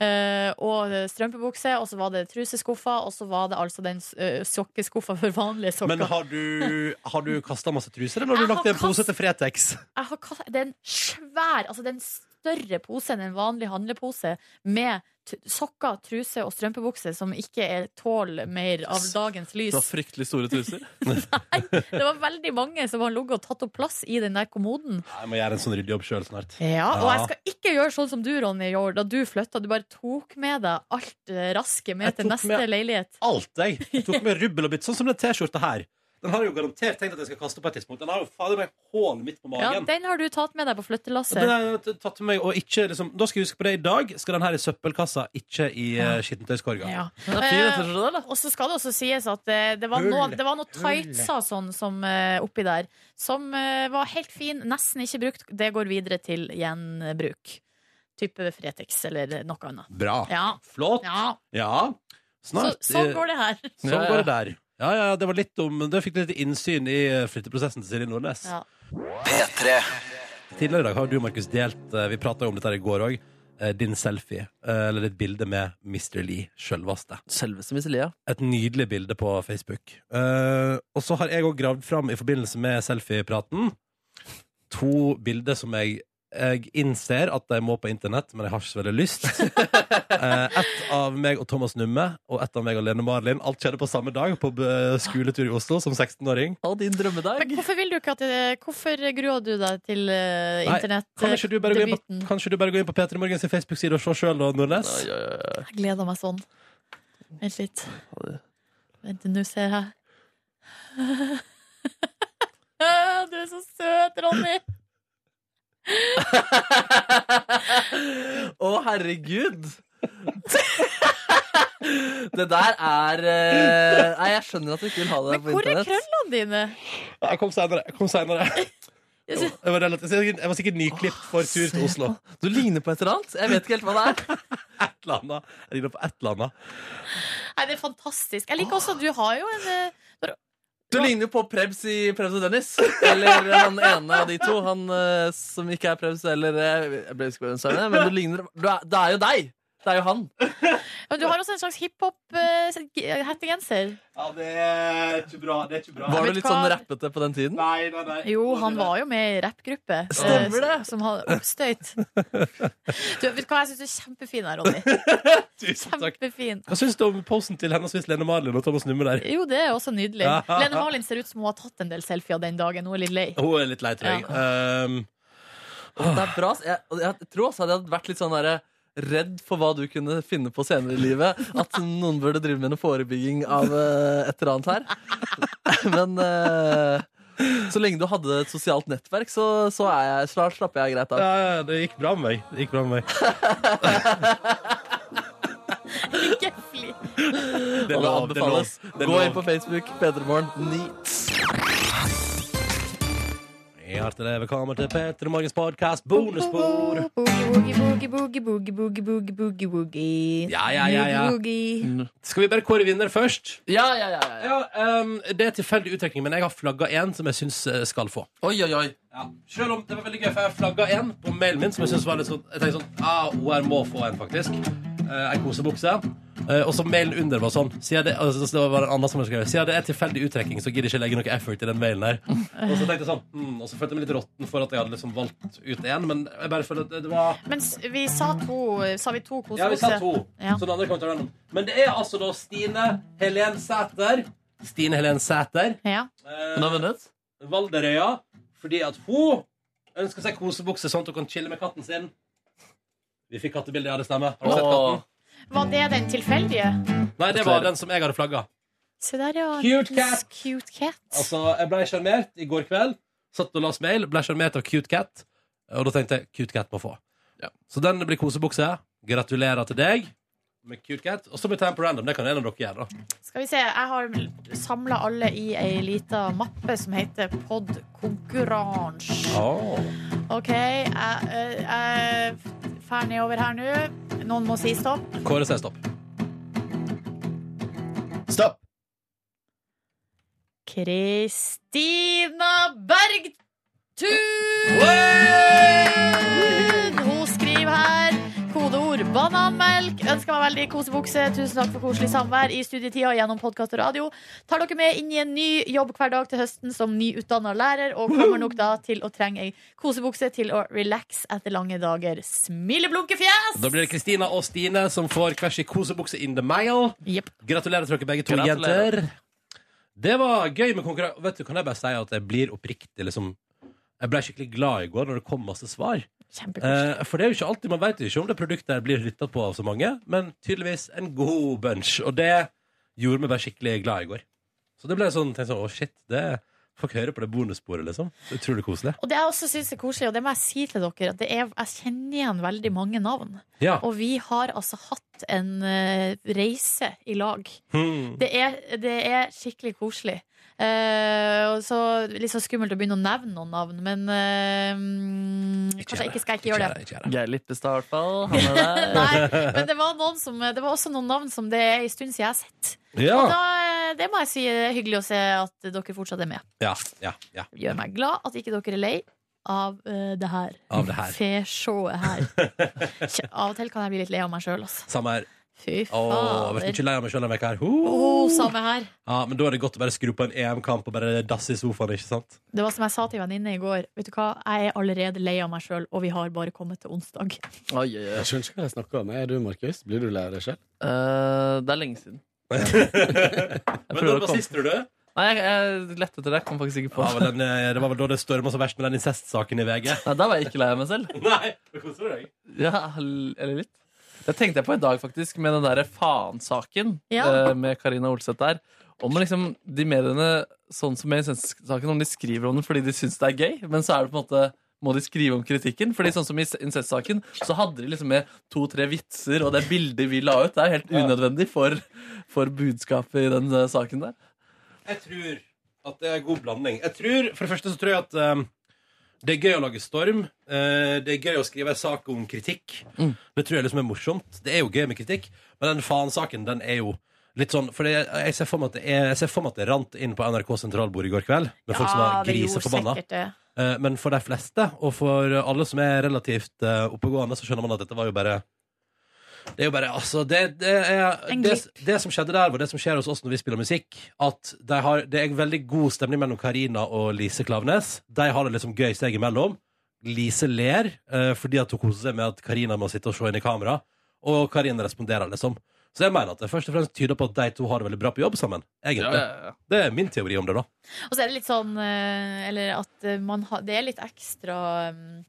Eh, og strømpebukse, og så var det truseskuffa, og så var det altså den uh, sokkeskuffa for vanlige sokker. Men har du, har du kasta masse truser, eller har du Jeg lagt i har en pose til Fretex? Jeg har kast... Det er en svær Altså, det er en s- større pose enn en vanlig handlepose med t sokker, truse og strømpebukse som ikke er tål mer av dagens Du lys. har fryktelig store truser. Det var veldig mange som har ligget og tatt opp plass i den der kommoden. Jeg må gjøre en sånn ryddejobb sjøl snart. Ja, og Ja. jeg skal ikke gjøre sånn som du, Ronny, gjorde da du flytta. Du bare tok med deg alt eh, rasket med Jeg til tok neste med- leilighet. Alt, jeg. jeg. Tok med rubbel og bytt, sånn som den T-skjorta her. Den har jeg jo garantert tenkt at jeg skal kaste på et tidspunkt. Den har jo fader meg hål midt på Ja, magen. den har du tatt med deg på Og Den flyttelasset. har jeg tatt med meg, og ikke, liksom, da skal jeg huske på det i dag. Skal den her i søppelkassa, ikke i ja. skittentøyskorga. Ja. Den er fin, Eh, den T-skjorta, Og så skal det også sies at eh, det var Hull. noe, det var noe Hull. tightser sånn som eh, oppi der, som eh, var helt fin, nesten ikke brukt. Det går videre til gjenbruk. Type Fretex eller noe annet. Bra. Ja. Flott. Ja. Ja, Så, snart. sånn går det her. Sånn går det der. Ja, ja, det var litt om Det fikk du litt innsyn i eh, flytteprosessen til Silje Nordnes. Ja. P3. Tidligere i dag har du, Markus, delt eh, Vi prata jo om dette her i går òg. Din selfie, eh, eller ditt bilde med Mr. Lee, sjølveste. Selveste Mr. Lee, ja. Et nydelig bilde på Facebook. Eh, og så har jeg òg gravd fram i forbindelse med selfiepraten to bilder som jeg, jeg innser at de må på internett, men jeg har ikke så veldig lyst. Eh, ett av meg og Thomas Numme, og ett av meg og Lene Marlin. Alt skjedde på samme dag, på eh, skoletur i Oslo som 16-åring. Å, din drømmedag. Men hvorfor vil du ikke at det, Hvorfor gruer du deg til eh, Nei, Kan ikke du bare gå inn internettdebuten? på, kan ikke du bare gå inn på P3 Morgens Facebook-side og se sjøl, da, Nordnes? Jeg gleder meg sånn. Vent litt. Vent, nå ser jeg. Du er så søt, Ronny! Å, herregud! det der er eh, Nei, jeg skjønner at du ikke vil ha det på Hvor er internett. krøllene dine? Ja, Jeg kom senere. Jeg kom senere. Jeg var, relativt, jeg var sikkert nyklipt for tur til Oslo. Du ligner på et eller annet. Jeg vet ikke helt hva det er. Et eller annet. Jeg ligner på et eller annet. Nei, det er fantastisk. Jeg liker også at du har jo en eh, Du ligner jo på Prebz i Prebz og Dennis. Eller han ene av de to. Han eh, som ikke er Prebz eller eh, Jeg ble ikke hvem som er det, men du ligner du er, Det er jo deg! Det er jo han. men Du har også en slags eh, hiphop-hettegenser. Ja, det er ikke bra. Det er ikke bra. Var Vet du litt hva? sånn rappete på den tiden? Nei, nei, nei. Jo, han var jo med i rappgruppe. eh, Stemmer som- Som hadde oppstøyt. Du, vet du hva, jeg syns du er kjempefin her, Ronny. Kjempefin. Hva syns du om posen til henholdsvis Lene Marlin og Thomas Numme der? Jo, det er også nydelig. Lene Malin ser ut som hun har tatt en del selfier den dagen. Hun er litt lei. Hun er litt lei, tror jeg. Ehm, Og Det er bra. ass. Jeg, og jeg tror også at jeg hadde vært litt sånn der, redd for hva du kunne finne på senere i livet. At noen burde drive med noe forebygging av eh, et eller annet her. Men eh, så lenge du hadde et sosialt nettverk, så, så, er jeg, så slapper jeg greit av. ja, ja, det gikk bra med meg. Det gikk bra med meg. Ikke fli. Det er og det lov, det er lov, anbefales. det er Gå lov. inn på Facebook. P3morgen. Neat. Hjertelig velkommen til Petter Morgens podkast bonusbord. Boogie, boogie, boogie, boogie, boogie, boogie, boogie, boogie. Ja, ja, ja, ja. Boogie. Skal vi bare kåre vinner først? Ja, ja, ja. ja. ehm, det er tilfeldig uttrekning, men jeg har flagga én som jeg syns eh, skal få. Oi, oi, oi. Ja. Selv om det var veldig gøy, for jeg flagga en på mailen min som jeg synes var litt sånn Jeg tenkte sånn ah, OR må få en, faktisk. Eh, en kosebukse. Eh, og så mailen under var sånn. Siden det, altså, det var en annen som hadde skrevet Siden det er tilfeldig uttrekning, så gidder jeg ikke legge noe effort i den mailen her. Og så tenkte jeg sånn mm, Og så følte jeg meg litt råtten for at jeg hadde liksom valgt ut én, men jeg bare føler at det, det var Men s- vi sa to Sa vi to kosebukser? Ja, vi sa to. Ja. Så den andre kom til random. Men det er altså da Stine Helen Sæter. Stine Helen Sæter. Ja. Hun har vunnet? Valderøya. Fordi at hun ønsker seg kosebukse, sånn at hun kan chille med katten sin. Vi fikk kattebilde, ja, det stemmer. Har du sett Åh. katten? Var det den tilfeldige? Nei, det var den som jeg hadde flagga. Se der, ja. Cute cat. Cute cat. Altså, jeg ble sjarmert i går kveld. Satt og leste mail, ble sjarmert av Cute Cat. Og da tenkte jeg Cute Cat må få. Så den blir kosebukse. Gratulerer til deg med Cute Cat. Og så blir det en på random. Det kan en av dere gjøre, da. Skal vi se, jeg har samla alle i ei lita mappe som heter Podkonkurranse. OK, jeg eh, er ferdig over her nå. Noen må si stopp. Kåre sier stopp. Stopp! Kristina Bergtun! Hun skriver her kodeord Rådeord. Bananmelk. Ønsker meg veldig kosebukse. Tusen takk for koselig samvær i studietida og gjennom podkast og radio. Tar dere med inn i en ny jobb hver dag til høsten som nyutdanna lærer, og kommer nok da til å trenge ei kosebukse til å relax etter lange dager. Smileblunkefjes! Da blir det Kristina og Stine som får hver sin kosebukse in the mail. Gratulerer til dere begge to, Gratulerer. jenter. Det var gøy med konkurranse. Vet du, kan jeg bare si at jeg blir oppriktig liksom Jeg ble skikkelig glad i går når det kom masse svar. Kjempekoselig. Eh, for det er jo ikke alltid, man vet jo ikke om det produktet her blir lytta på av så mange, men tydeligvis en god bunch. Og det gjorde meg bare skikkelig glad i går. Så det ble sånn, tenkte sånn, å shit, det Folk hører på det bonussporet, liksom. Så Utrolig koselig. Og det jeg også syns er koselig, og det må jeg si til dere, at det er, jeg kjenner igjen veldig mange navn. Ja. Og vi har altså hatt en eh, reise i lag. Hmm. Det er, det er skikkelig koselig. Eh, og så Litt så skummelt å begynne å nevne noen navn, men eh, mm, kanskje ikke skal jeg ikke gjøre det. Geir Lippestad, i hvert fall. Han er der. Men det var, noen som, det var også noen navn som det er en stund siden jeg har sett. Ja. Og da, eh, det må jeg si er hyggelig å se at dere fortsatt er med. Ja, ja, ja. Gjør meg glad at ikke dere er lei av eh, det her. Av det her. Fesjået her. Kje- av og til kan jeg bli litt lei av meg sjøl, altså. Samme her. Fy Åh, jeg fader. ble ikke lei av meg sjøl denne veka her. Oh, samme her. Ja, men da er det godt å bare skru på en EM-kamp og bare dasse i sofaen, ikke sant? Det var som jeg sa til venninne i går. Vet du hva, Jeg er allerede lei av meg sjøl, og vi har bare kommet til onsdag. Jeg skjønner ikke hva jeg snakker om. Er du, Markus? Blir du lei av deg selv? Eh, det er lenge siden. Men når var sist, tror du? Nei, jeg, jeg lette etter det. Jeg kom faktisk ikke på Ja, vel, den, eh, det var vel da det storma så verst med den incestsaken i VG. Nei, Da var jeg ikke lei av meg selv. Nei, det koser du deg. Ja, l- eller litt. Det tenkte jeg på i dag, faktisk, med den derre faen-saken Ja. eh, med Karina Olseth der. Om liksom de mediene, sånn som med incestsaken, om de skriver om den fordi de syns det er gøy, men så er det på en måte må de skrive om kritikken? Fordi sånn som i incestsaken, så hadde de liksom med to-tre vitser, og det bildet vi la ut, det er helt unødvendig for, for budskapet i den eh, saken der. Jeg tror at det er god blanding. Jeg tror, For det første så tror jeg at eh, det er gøy å lage storm. Eh, det er gøy å skrive en sak om kritikk. Mm. Det tror jeg liksom er morsomt. Det er jo gøy med kritikk, men den faen-saken, den er jo litt sånn For jeg, jeg ser for meg at det er- jeg ser for meg at det rant inn på NRK sentralbord i går kveld med folk som var det gjorde griseforbanna. sikkert det. Eh, Men for de fleste, og for alle som er relativt eh, oppegående, så skjønner man at dette var jo bare Det er jo bare Altså, det, det er En det, det som skjedde der, var det som skjer hos oss når vi spiller musikk, at de har, det er en veldig god stemning mellom Karina og Lise Klaveness. De har det liksom gøy seg imellom. Lise ler eh, fordi at hun koser seg med at Karina må sitte og se inn i kamera, og Karina responderer, liksom. Så jeg mener at det først og fremst tyder på at de to har det veldig bra på jobb sammen. Egentlig. Ja, ja, ja. Det er min teori om det, da. Og så er det litt sånn eh, Eller at eh, man har Det er litt ekstra mm,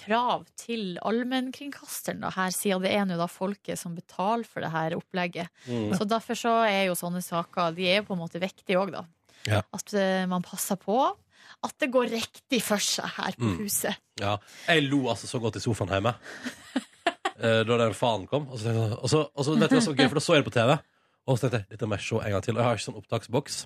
krav til allmennkringkasteren da, her, siden det er nå da folket som betaler for det her opplegget. Mm. Så derfor så er jo sånne saker De er jo på en måte viktige òg, da. Ja. At eh, man passer på at det går riktig for seg her på Mm. huset. Ja, jeg lo altså så godt i sofaen hjemme eh, Da den faen kom Og så, tenkte jeg- og så, og så vet du hva som var gøy, for da så jeg det på TV Og så tenkte jeg, dette må jeg se en gang til Og jeg har ikke sånn opptaksboks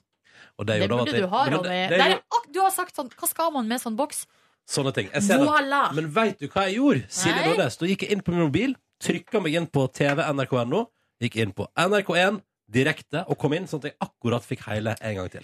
Og det, Det gjorde da at burde jeg- du ha, Men det- Ronny. det Der er er jo ak- Du har sagt sånn Hva skal man med sånn boks? Sånne ting Jeg ser det. Voilà. Men vet du hva jeg gjorde? Silje Nei. Nordnes, da gikk jeg inn på min mobil Trykket meg inn på TV NRK.no Gikk inn på NRK1 direkte Og kom inn sånn at jeg akkurat fikk hele en gang til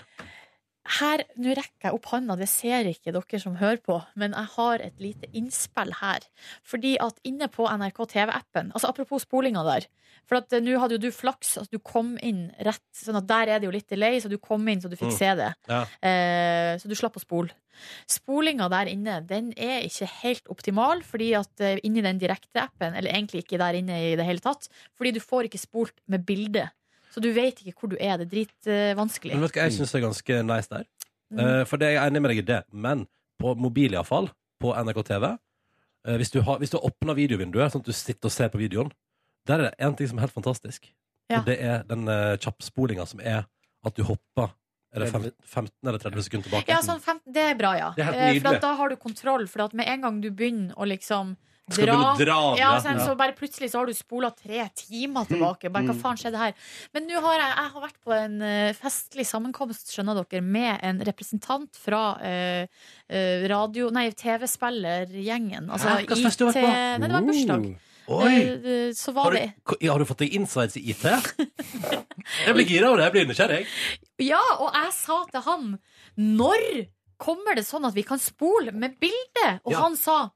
her, Nå rekker jeg opp handa, det ser ikke dere som hører på, men jeg har et lite innspill her. Fordi at inne på NRK TV-appen, altså apropos spolinga der For at eh, nå hadde jo du flaks at du kom inn rett, sånn at der er det jo litt delay, så du kom inn så du fikk Mm. se det. Ja. Eh, så du slapp å spole. Spolinga der inne, den er ikke helt optimal, fordi at eh, inni den direkte-appen, eller egentlig ikke der inne i det hele tatt, fordi du får ikke spolt med bilde. Så du vet ikke hvor du er. Det er dritvanskelig. Men vet du hva jeg syns er ganske nice der? Mm. Eh, for det jeg er enig med deg i det, men på mobil iallfall, på NRK TV eh, Hvis du har, hvis du har åpna videovinduet, sånn at du sitter og ser på videoen, der er det én ting som er helt fantastisk. Ja. Og det er den uh, kjappspolinga som er at du hopper er det fem, 15 eller 30 sekunder tilbake. Ja, sånn fem, det er bra, ja. Det er helt Eh, For nydelig. at da har du kontroll, for at med en gang du begynner å liksom Skal begynne å dra, ja, ja. sånn, Ja. Så bare plutselig så har du spola tre timer tilbake. Bare, hva Mm. faen skjedde her? Men nå har jeg, jeg har vært på en eh, festlig sammenkomst, skjønner dere, med en representant fra eh, eh, radio... Nei, TV-spillergjengen. Altså Hæ? Hva slags fest du har vært IT på? Nei, det var en bursdag. Oh. Oi. Eh, eh, Så var har, det du, ko- har du fått deg insights i IT? jeg blir gira av det. Jeg blir nysgjerrig. Ja, og jeg sa til han Når kommer det sånn at vi kan spole med bildet? Og Ja. han sa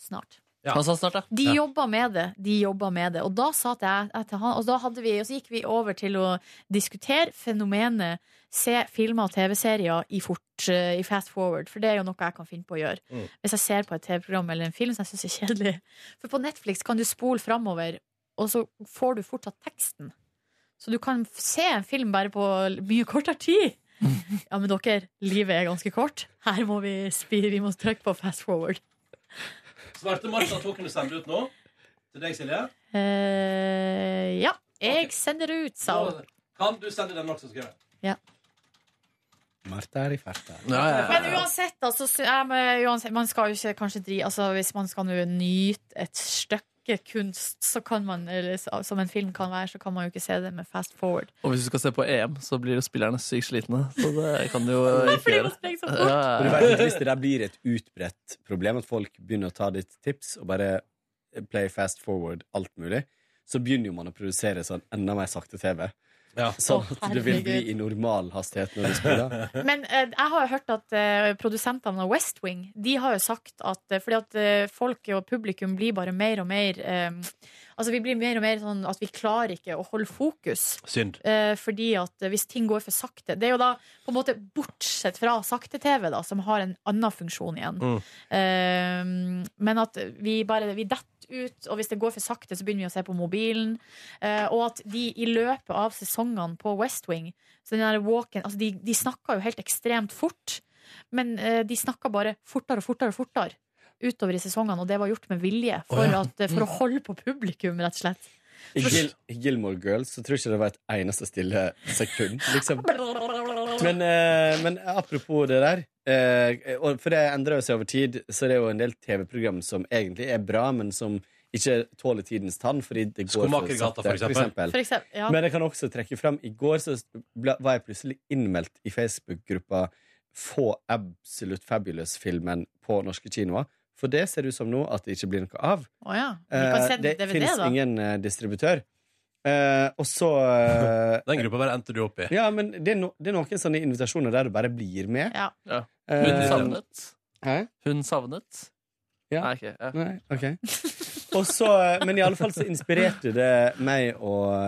snart. Han sa snart, ja. De jobba med det. De jobba med det. Og da sa til jeg jeg til han, og da hadde vi, og så gikk vi over til å diskutere fenomenet se filmer og TV-serier i, fort, eh, i fast forward, for det er jo noe jeg kan finne på å gjøre. Mm. Hvis jeg ser på et TV-program eller en film som jeg syns er kjedelig. For på Netflix kan du spole framover, og så får du fortsatt teksten. Så du kan f- se en film bare på l- mye kortere tid. Ja, men dere, livet er ganske kort. Her må vi, spi- vi må trykke på fast forward. Svarte Martha at hun kunne sende ut nå. Til deg, Silje. Eh, ja. Jeg sender ut, sa hun. Kan du sende den også, skrevet? Ja. Martha er i ferta. Men uansett, altså, sy- ja, men uansett, man skal jo ikke kanskje dri, altså, Hvis man skal nå nyte et stykke kunst, så kan man, eller, s- som en film kan være, så kan man jo ikke se det med fast forward. Og hvis du skal se på EM, så blir jo spillerne sykt slitne. Så det kan du jo ikke gjøre. sprang så Ja, ja, Men ja. du vet, at hvis det der blir et utbredt problem, at folk begynner å ta ditt tips og bare play fast forward alt mulig, så begynner jo man å produsere sånn enda mer sakte TV. Sånn Å, at det vil bli herregud. i normal hastighet når du spiller. Men eh, jeg har jo hørt at eh, produsentene av West Wing De har jo sagt at eh, Fordi at eh, folk og publikum blir bare mer og mer eh, Altså vi blir mer og mer sånn at vi klarer ikke å holde fokus Synd. Eh, fordi at eh, hvis ting går for sakte Det er jo da på en måte bortsett fra sakte-TV da Som har en annen funksjon igjen Mm. Eh, Men at vi bare Vi detter ut, og hvis det går for sakte Så begynner vi å se på mobilen Eh, Og at de i løpet av sesongene på West Wing Så den der walken altså de, de snakker jo helt ekstremt fort Men eh, de snakker bare fortere og fortere og fortere Utover i sesongene Og det var gjort med vilje For, Å, ja. at, for å Mm. holde på publikum rett og slett I, Gil I Gilmore Girls så tror jeg ikke det var et eneste stille sekund. Liksom. Men, eh, men apropos det der, eh, og for det endrer jo seg over tid, så det er jo en del TV-program som egentlig er bra, men som ikke tåler tidens tann. Fordi det går for Skomakergata, sakte, for eksempel. For eksempel, ja. Men jeg kan også trekke fram I går så ble, var jeg plutselig innmeldt i Facebook-gruppa Få Absolute Fabulous-filmen på norske kinoer. For det ser ut som nå at det ikke blir noe av. Å ja. Vi kan Eh, sende det DVD, finnes da. ingen eh, distributør. Eh, og så eh, Den gruppa bare endte du opp i. Ja, men det er, no, det er noen sånne invitasjoner der du bare blir med. Ja. Hun Eh, savnet. Hæ? Hun savnet. Ja. Nei, ok, ja. Mm. Nei, ok. Og så, eh, men i alle fall så inspirerte det meg og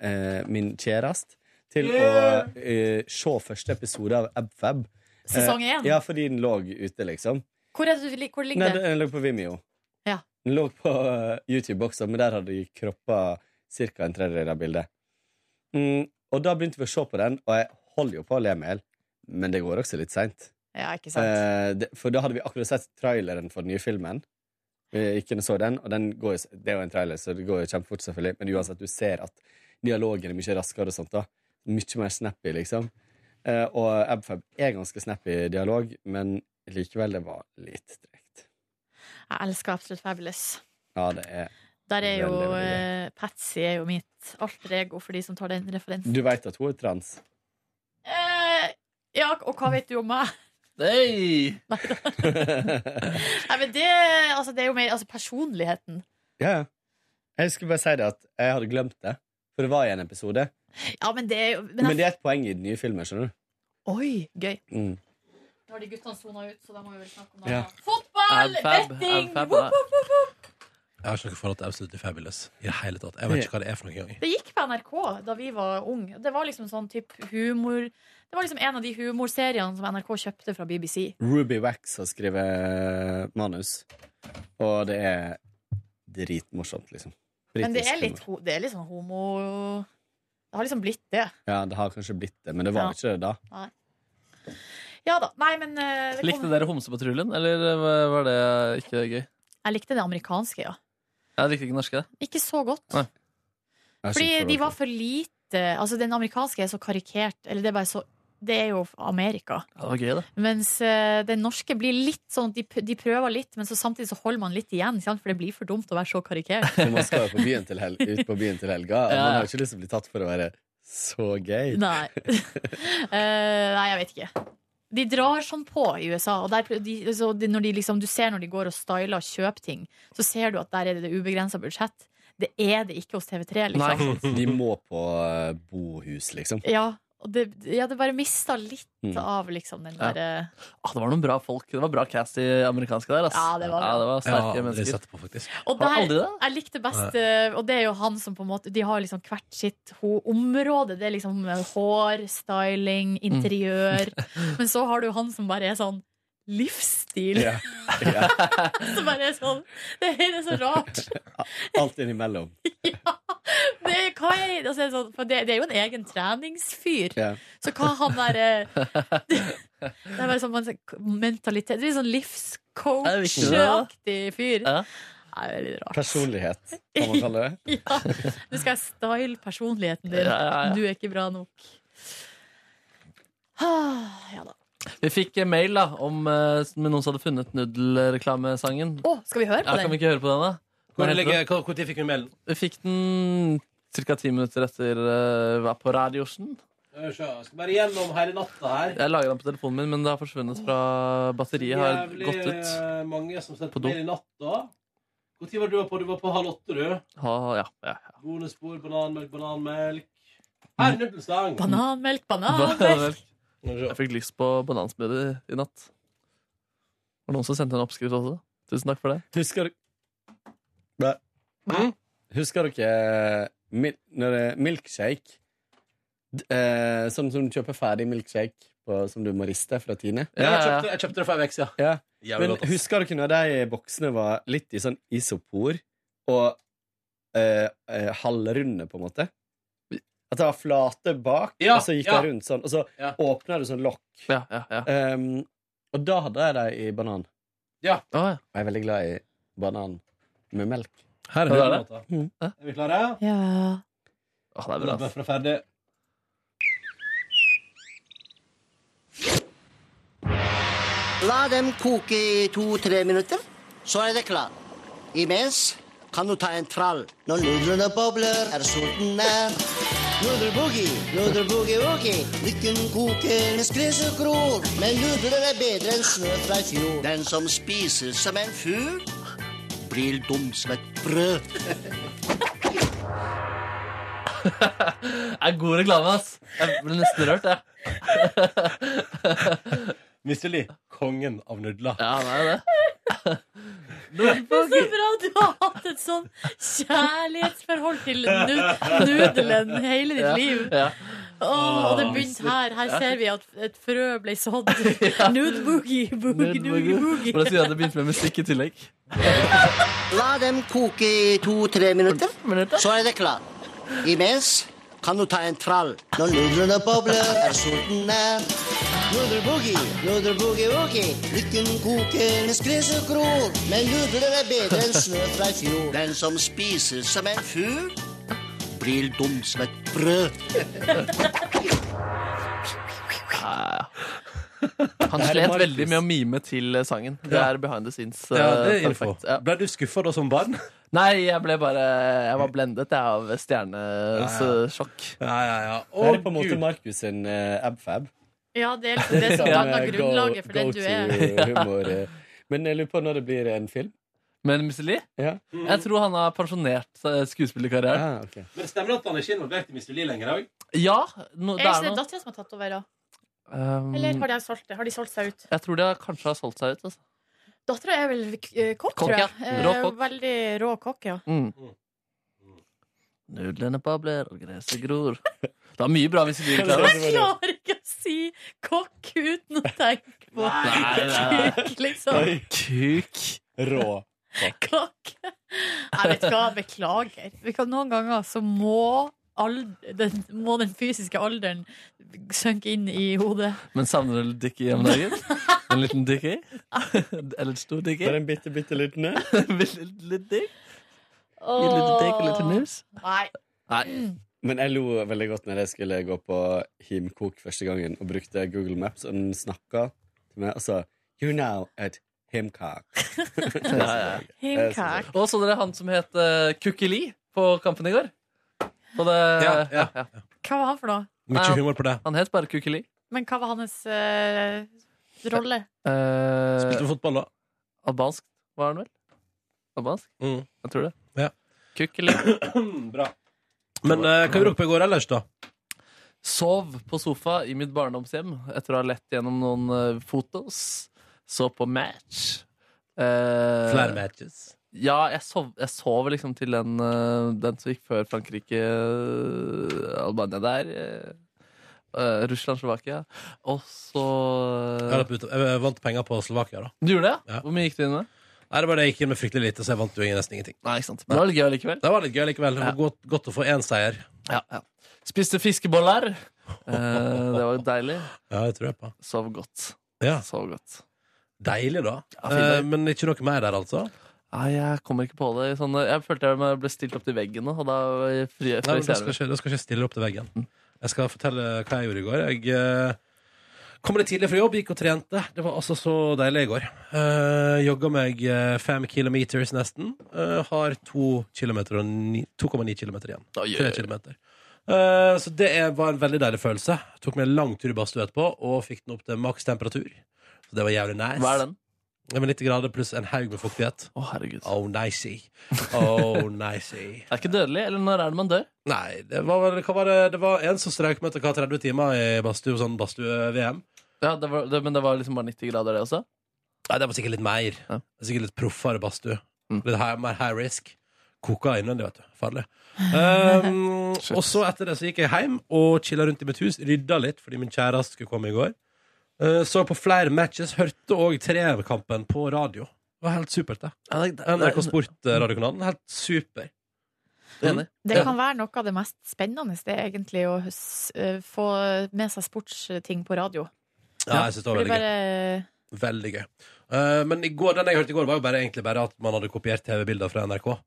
eh, min kjærest til Yeah. å eh, se første episode av AbFab. Eh, Sesong én? ja, fordi den lå ute, liksom. Hvor, er det, du lig- hvor ligger Nei, det? den lå på Vimeo. Ja. Den lå på eh, YouTube også, men der hadde de kroppa ca. en tredjedel av bildet. Mm, og da begynte vi å se på den, og jeg holder jo på å le meg i hjel, men det går også litt seint. Ja, ikke sant? Eh, det- for da hadde vi akkurat sett traileren for den nye filmen. Vi gikk inn og så den, og den går, jo- det er jo en trailer, så det går jo kjempefort, selvfølgelig. Men uansett, du ser at dialogen er mye raskere og sånt. da Mye mer snappy, liksom. Eh, og Abfab er ganske snappy dialog, men likevel, det var litt Jeg elsker Absolutt Fabulous. Ja, det er Der er jo Veldig, veldig bra. eh, Patsy er jo mitt alter ego for de som tar den referansen. Du veit at hun er trans? Eh, ja, og hva vet du om meg? Hey! Nei, men det, altså, det er jo mer altså, personligheten. Ja, ja. Jeg skulle bare si det at jeg hadde glemt det, for det var i en episode. Ja, men det er jo men Men jeg, det er et poeng i den nye filmen, skjønner Oi, gøy. du. Mm. Nå har de guttene sona ut, så da må vi vel snakke om det. Ja. Fotball! Abfab, Betting! abfab, Whoop, ja. whoop, whoop, whoop. Jeg har ikke noe forhold til Absolutely Fabulous i det hele tatt. Jeg vet ikke hva det er for noe engang. Det gikk på NRK da vi var unge. Det var liksom sånn typ humor Det var liksom en av de humorseriene som NRK kjøpte fra BBC. Ruby Wax har skrevet manus, og det er dritmorsomt, liksom. Men det Britisk er litt, humor. ho- det er litt sånn homo Det har liksom blitt det. Ja, det har kanskje blitt det, men det var Ja. ikke det da. Nei. Ja da. Nei, men eh, det Likte kom... dere Homsepatruljen, eller eh, var det ikke gøy? Jeg likte det amerikanske, ja. Jeg likte ikke den norske. Ikke så godt. Nei. Fordi de var for lite Altså, den amerikanske er så karikert. Eller det er bare så Det er jo Amerika. Ja, det var gøy, det. Mens eh, den norske blir litt sånn at de, p- de prøver litt, men så samtidig så holder man litt igjen. ikke sant? For det blir for dumt å være så karikert. For man skal jo på byen til hel ut på byen til helga, og Ja. man har jo ikke lyst til å bli tatt for å være så gøy. Nei. Eh, nei, jeg vet ikke. De drar sånn på i USA. Og der, de, så de, når de liksom, du ser når de går og styler og kjøper ting, så ser du at der er det, det ubegrensa budsjett. Det er det ikke hos TV3, liksom. De må på eh, bohus, liksom. Ja, Og det, ja, det bare mista litt Mm. av liksom den Ja. derre Ah, det var noen bra folk. Det var bra cast i amerikanske der. Ass. Ja, det var bra. Ja, sterke det mennesker. setter på, faktisk. Og Har der, aldri det? jeg likte best eh, Og det er jo han som på en måte De har liksom hvert sitt ho område Det er liksom eh, hår, styling, Mm. interiør Men så har du han som bare er sånn Livsstil Ja. Ja. Som bare er sånn Det her er så rart Alt innimellom. det, er- hva er, altså, det er sånn, for det, det er jo en egen treningsfyr Ja. Så hva han der eh, Det er bare sånn man- mentalitet Det er sånn livscoach-aktig fyr Ja. Nei, det er litt rart Personlighet, kan man kalle det. Ja, nå skal jeg style personligheten din. Ja, ja, ja. Du er ikke bra nok. Ah, ja da. Vi fikk eh, mail da om eh, med noen som hadde funnet nudelreklamesangen. Å, skal vi høre Ja, på kan vi den? ikke høre på den, da? Hvor Hva heter ligger- den? hva- hvor tid fikk vi mailen? Vi fikk den ca. ti minutter etter uh, var på radiosen. Jeg skal bare gjennom hele natta her. Jeg laga den på telefonen min, men det har forsvunnet fra batteriet. har Jævlig gått ut eh, mange som sendte På do. mail i natta. Hvor tid var det du var på? Du var på halv åtte, du. ha, ja, ja. Bonusbord, bananmelk, bananmelk. Her, nudelsang! Bananmelk, Bananmelk. bananmelk. Jeg fikk lyst på banansmoothie i natt. Det var noen som sendte en oppskrift også. Tusen takk for det. Husker Bæ. Mm. Husker dere mil når det er milkshake? D eh, sånn som du kjøper ferdig milkshake på, som du må riste fra Tine? Ja, jeg, kjøpte, jeg kjøpte det for en uke siden. Ja. Jævlig Men godt, ass. husker dere når de boksene var litt i sånn isopor og eh, eh, halvrunde, på en måte? At det var flate bak, Ja, og så gikk ja. de rundt sånn, og så Ja. åpna du sånn lokk. Ehm, og da hadde jeg dem i banan. Ja. Og jeg er veldig glad i banan med melk. Her er Hva Mm. nudelåta. Er vi klare? Ja. Åh, det er bra. ass. Bøffer er ferdig. La dem koke i to-tre minutter, så er det klart. Imens kan du ta en trall. Når nudlene bobler, er sulten nær. Nudelboogie, nudelboogie-woogie. Lykken koker mens gresset gror. Men nudler er bedre enn snø fra i fjor. Den som spiser som en fugl, blir dum som et brød. er god reklame, ass. Jeg ble nesten rørt, jeg. Mr. Lee, kongen av nudler. Ja, han er jo det. Det er så bra at du har hatt et sånn kjærlighetsforhold til nu- nudelen hele ditt Ja, liv. ja. Åh, og det begynte her. Her ser vi at et frø ble sådd. Nude boogie, boogie, boogie, boogie. Hvordan sier jeg at det begynte med musikk i tillegg? La dem koke i to-tre minutter, så er det klart. Imens kan du ta en trall. Når nudlene bobler, er sulten nær. Nudelboogie, nudelboogie-woogie. Lykken koker mens gresset gror. Men nudler er bedre enn snø fra i fjor. Den som spiser som en fugl, blir dum som et brød. Han Det er slet Markus. veldig med å mime til eh, sangen. Det Ja. er behind the scenes. eh, Ja, det er info. perfekt. Ble du skuffa da som barn? Nei, jeg ble bare Jeg var blendet jeg, av altså, stjernesjokk. Ja, ja, ja. Det er på en måte Markus sin eh, abfab. Ja, det er liksom det som Som, danner eh, grunnlaget for den du er. humor, eh. Men jeg lurer på når det blir en film. Men Mr. Lee? Ja. Jeg tror han har pensjonert eh, skuespillerkarrieren. Ah, ok. Men stemmer det at han ikke er involvert i Mr. Lee lenger òg? Ja, no, Er det det er ikke det noe. dattera som har tatt over, da? Um, Eller har de solgt, det? Har de solgt seg ut? Jeg tror det kanskje har solgt seg ut. Altså. Dattera er vel eh, kokk, Kokk, tror jeg. ja. Rå Eh, kokk. Veldig rå kokk, ja. Mm. Nudlene babler, og gresset gror. Det var mye bra Mr. Jeg Lee-reklame. klarer ikke å si kokk uten å tenke på Nei, nei, nei. kuk, liksom. Kuk. Rå. Kokk. Jeg vet ikke hva, beklager. Vi kan, noen ganger så må, ald- den, må den fysiske alderen synke inn i hodet. Men savner du Dickie om dagen? En liten Dickie? Eller en stor Dickie? Bare en bitte, bitte liten en? Litt dick? Gi lille dick og lille nus? Nei. Men jeg lo veldig godt når jeg skulle gå på Himkok første gangen og brukte Google Maps, og den snakka til meg og sa You're now at Himkok. Ja, ja. Og så dere han som het uh, Kukkeli på kampen i går. På det, Ja, ja. Hva var han for noe? Mye humor på det. Han het bare Kukkeli. Men hva var hans eh, rolle? Spilte fotball, da? Eh, Albansk var han vel? Albansk? Jeg tror det. Ja. Kukkeli. Bra. Men eh, hva gjorde dere på i går ellers, da? Sov på sofa i mitt barndomshjem etter å ha lett gjennom noen eh, fotos. Så på match. Eh, Flere matches? Ja, jeg sov, jeg sov liksom til den, eh, den som gikk før Frankrike, eh, Albania der. eh, eh, Russland, Slovakia. Og så eh, Jeg har lagt ut- jeg vant penger på Slovakia, da. Du gjorde det? Hvor mye gikk du inn med? Nei, det var det jeg gikk inn med fryktelig lite, så jeg vant jo ingen- nesten ingenting. Nei, ikke sant. Men det var litt gøy likevel. Det var litt gøy likevel. Det var godt, godt å få én seier. Ja, ja. Spiste fiskeboller. Eh, det var deilig. Ja, det tror jeg på. Sov godt. Ja. Sov godt. Deilig, da. fin dag. Eh, men ikke noe mer der, altså? Nei, jeg kommer ikke på det. Sånn, jeg følte jeg ble stilt opp til veggen nå, og da fri, Nei, men da skal ikke, da skal ikke jeg stille opp til veggen. Mm. Jeg skal fortelle hva jeg gjorde i går. Jeg eh, kom litt tidlig fra jobb, gikk og trente. Det var altså så deilig i går. Uh, Jogga meg eh, fem kilometers nesten. Eh, har to kilometer og ni- 2,9 kilometer igjen. Oi, oi, Tre oi. kilometer. Eh, så det er, var en veldig deilig følelse. Tok meg en lang tur i badstue etterpå og fikk den opp til maks temperatur. Så det var jævlig nice. Hva er den? Ja, men 90 grader pluss en haug med fuktighet. Å, herregud. Oh, nicey. Oh, nicey. Det er ikke dødelig, eller når er det man dør? Nei, det var vel hva var det? Det var en som strøk med etter hva 30 timer i badstue, sånn badstue-VM. Ja, det var, det, Men det var liksom bare 90 grader, det også? Nei, det var sikkert litt mer. Det var Sikkert litt proffere badstue. Litt high, mer high risk. Koka innvendig, vet du. Farlig. Um, og så etter det så gikk jeg hjem og chilla rundt i mitt hus, rydda litt fordi min kjæreste skulle komme i går. Eh, så på flere matches, hørte òg Trekampen på radio. Det var helt supert, det. NRK Sport-radiokanalen. Helt super. Mm. Enig. Det kan være noe av det mest spennende, det er egentlig å hus- eh, få med seg sportsting på radio. Ja, jeg synes det var For veldig gøy. bare- Veldig gøy. Eh, men i går, den jeg hørte i går, var jo bare, egentlig bare at man hadde kopiert TV-bilder fra NRK.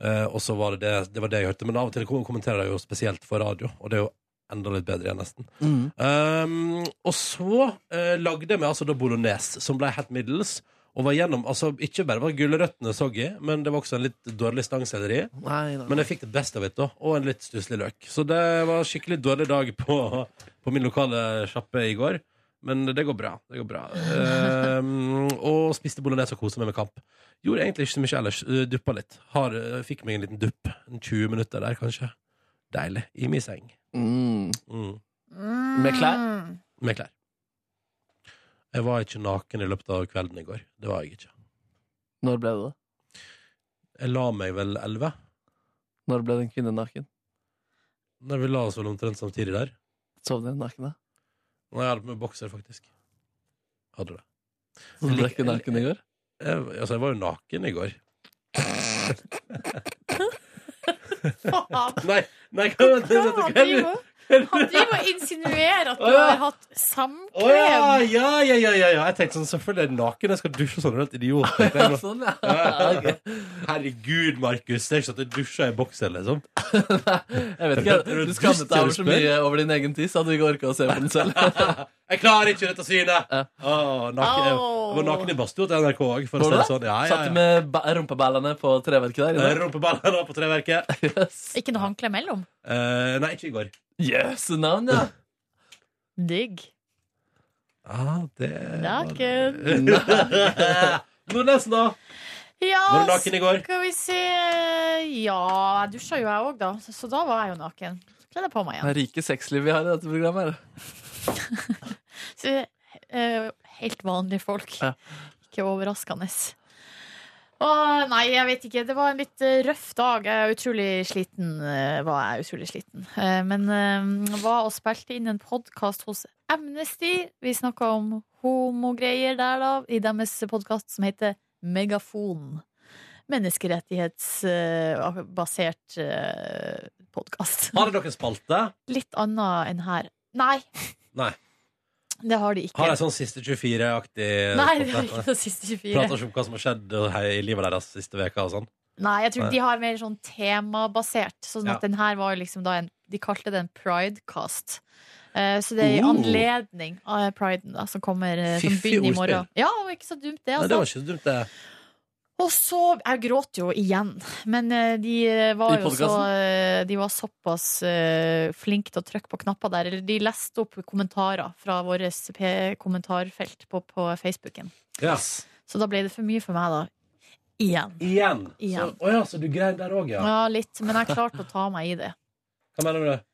Eh, og så var det, det det var det jeg hørte. Men av og til kom- kommenterer jeg jo spesielt for radio, og det er jo enda litt bedre igjen, nesten. Um, og så eh, lagde jeg meg altså da bolognese, som ble helt middels. Og var gjennom, altså Ikke bare var gulrøttene soggy, men det var også en litt dårlig stangselleri. Nei, nei. Men jeg fikk det beste av it, da, og en litt stusslig løk. Så det var skikkelig dårlig dag på, på min lokale sjappe i går. Men det går bra. Det går bra. Ehm, og spiste bolognese og koste meg med kamp. Gjorde egentlig ikke så mye ellers. eh, Duppa litt. Har, eh, fikk meg en liten dupp. En 20 minutter der, kanskje. Deilig. I min seng. Mm. Med klær? Med klær. Jeg var ikke naken i løpet av kvelden i går. Det var jeg ikke. Når ble det det? Jeg la meg vel elleve. Når ble den kvinnen naken? Når vi la oss vel omtrent samtidig der. Sov dere naken, da? Nei, jeg hadde på meg bokser, faktisk. Hadde det. Så du ble ikke naken i går? Jeg, altså, jeg var jo naken i går. nei, nei, hva hva- hva- hva- Han driver han driver og insinuerer at du Å, ja. har hatt Å ja, samkvem. ja, ja, ja, ja, ja. Jeg tenkte sånn, selvfølgelig er jeg naken. Jeg skal dusje sånn, helt idiot. tenkte jeg. sånn, Ja, ja, ja. Herregud, Markus. Det er ikke sånn at jeg dusjer i bokser, liksom. Jeg vet ikke, Du skammet deg over så mye over din egen tiss at du ikke orka å se på den selv. Jeg klarer ikke dette synet! Åh, naken, jeg, jeg var naken i badstua til NRK òg. Var du det? Sånn. Ja, ja, Satt du ja. med ba- rumpeballene på treverket der? inne? Rumpeballene på treverket. Ikke noe håndkle mellom. Eh, nei, ikke i går. Yes, navn, ja. Digg. Ah, det Naken. Nordnes, da? Ja, Var du naken i går? Skal vi se Ja, jeg dusja jo jeg òg, da. Så da var jeg jo naken. Så kledde jeg på meg Det er igjen. rike sexliv vi har i dette programmet. her. Så, eh, helt vanlige folk. Ja. Ikke overraskende. Åh, nei, jeg vet ikke. Det var en litt eh, røff dag. Jeg er utrolig sliten. eh, var jeg utrolig sliten. Eh, men eh, var og spilte inn en podkast hos Amnesty. Vi snakka om homogreier der, da, i deres podkast som heter Megafon. eh, Menneskerettighetsbasert uh, podkast. Har dere en spalte? Litt annet enn her. Nei, Nei. det har de ikke. Har de sånn Siste 24-aktig Nei, det har ikke noe siste 24. Eh, Prater ikke om hva som har skjedd her i livet deres siste veka og sånn. Nei, jeg tror Nei. de har mer sånn temabasert. Sånn Ja. at den her var liksom da en De kalte det en pridecast. Eh, så det er i Oh. anledning av priden da, som kommer eh, som Fiffig begynner i ordspill. morgen. Ja, det var ikke så dumt, det. Nei, Altså. det var ikke så dumt, det. Og så Jeg gråt jo igjen. Men eh, de eh, var I jo så podcasten? eh, De var såpass uh, flinke til å trykke på knapper der. Eller de leste opp kommentarer fra vårt kommentarfelt på, på Facebooken. Så da ble det for mye for meg, da. Igjen. Igjen. Igjen. Så, å ja, så du grein der òg, ja. Ja, litt. Men jeg klarte å ta meg i det. Hva mener du med det?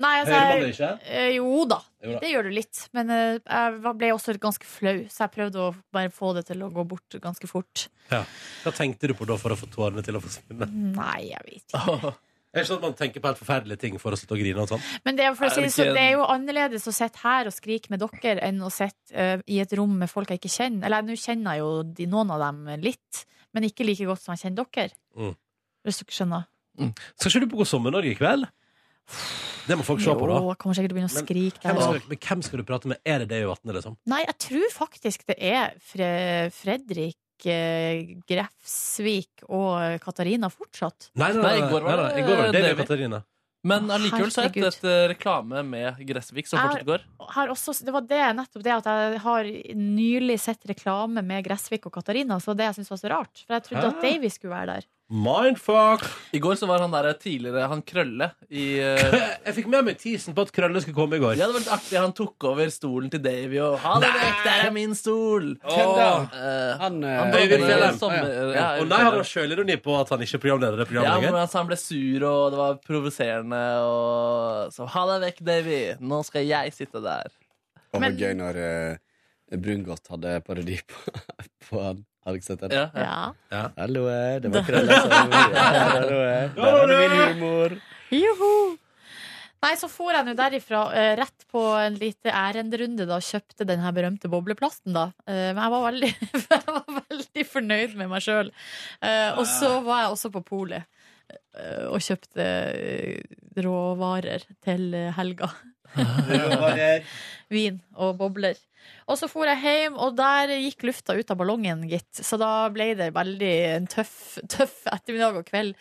Nei, altså, Hører man jeg- det ikke? Eh, jo, da. Jo da. det gjør du litt. Men eh, jeg var- ble også ganske flau, så jeg prøvde å bare få det til å gå bort ganske fort. Ja. Hva tenkte du på da for å få tårene til å forsvinne? Nei, jeg vet ikke. Er det ikke sånn at man tenker på helt forferdelige ting for å slutte å grine og sånn? Men det er, for å Er si, det det så, ikke- det er jo annerledes å sitte her og skrike med dere enn å sitte eh, i et rom med folk jeg ikke kjenner. Eller nå kjenner jeg jo de, noen av dem litt, men ikke like godt som jeg kjenner dere. Mm. Hvis dere skjønner. Skal ikke du på God sommer-Norge i kveld? Det må folk se på, da. Jo, jeg kommer sikkert til å begynne å Men skrike der Hvem også. skal, men hvem skal du prate med? Er det det i vattnet, liksom? Nei, jeg tror faktisk det er Fre Fredrik eh, Grefsvik og Katarina fortsatt. Nei, nei, nei, Nei, i går var nei, nei, det i går var det Davy Davy. Katarina. Men allikevel så het det Herregud. et eh, reklame med Gressvik som fortsatt går. Jeg har også, det var det, nettopp det at jeg har nylig sett reklame med Gressvik og Katarina, så det jeg syntes var så rart. For jeg Hæ? trodde at Davy skulle være der. Mindfuck! I går så var han der eh, tidligere Han Krølle i eh, Jeg fikk med meg tisen på at Krølle skulle komme i går. Ja, det var litt artig. Han tok over stolen til Davy og Ha det vekk, der er min stol! Hvem da? Eh, han Øyvind var- Fjellheim. sommer- sånn, Å, ja. eh, ja, Og Øyvind nei, han Fjellheim. har sjølironi på at han ikke er programleder i Ja, programmet men lenger. altså, han ble sur, og det var provoserende. Og så ha deg vekk, Davy. Nå skal jeg sitte der. Det var Men- gøy når eh, Brungot hadde parodi på, på han. Har dere sett den? Ja, ja. Hallo, eh, det var krølla som Hallo, eh, Der er det min humor. Joho! Nei, så for jeg nå derifra eh, rett på en lite ærenderunde da, og kjøpte den her berømte bobleplasten da. Eh, men jeg var veldig, jeg var veldig fornøyd med meg sjøl. og så var jeg også på polet eh, og kjøpte eh, råvarer til eh, helga. Råvarer. Vin og bobler. Og så for jeg hjem, og der gikk lufta ut av ballongen, gitt. Så da ble det veldig en tøff, tøff ettermiddag og kveld.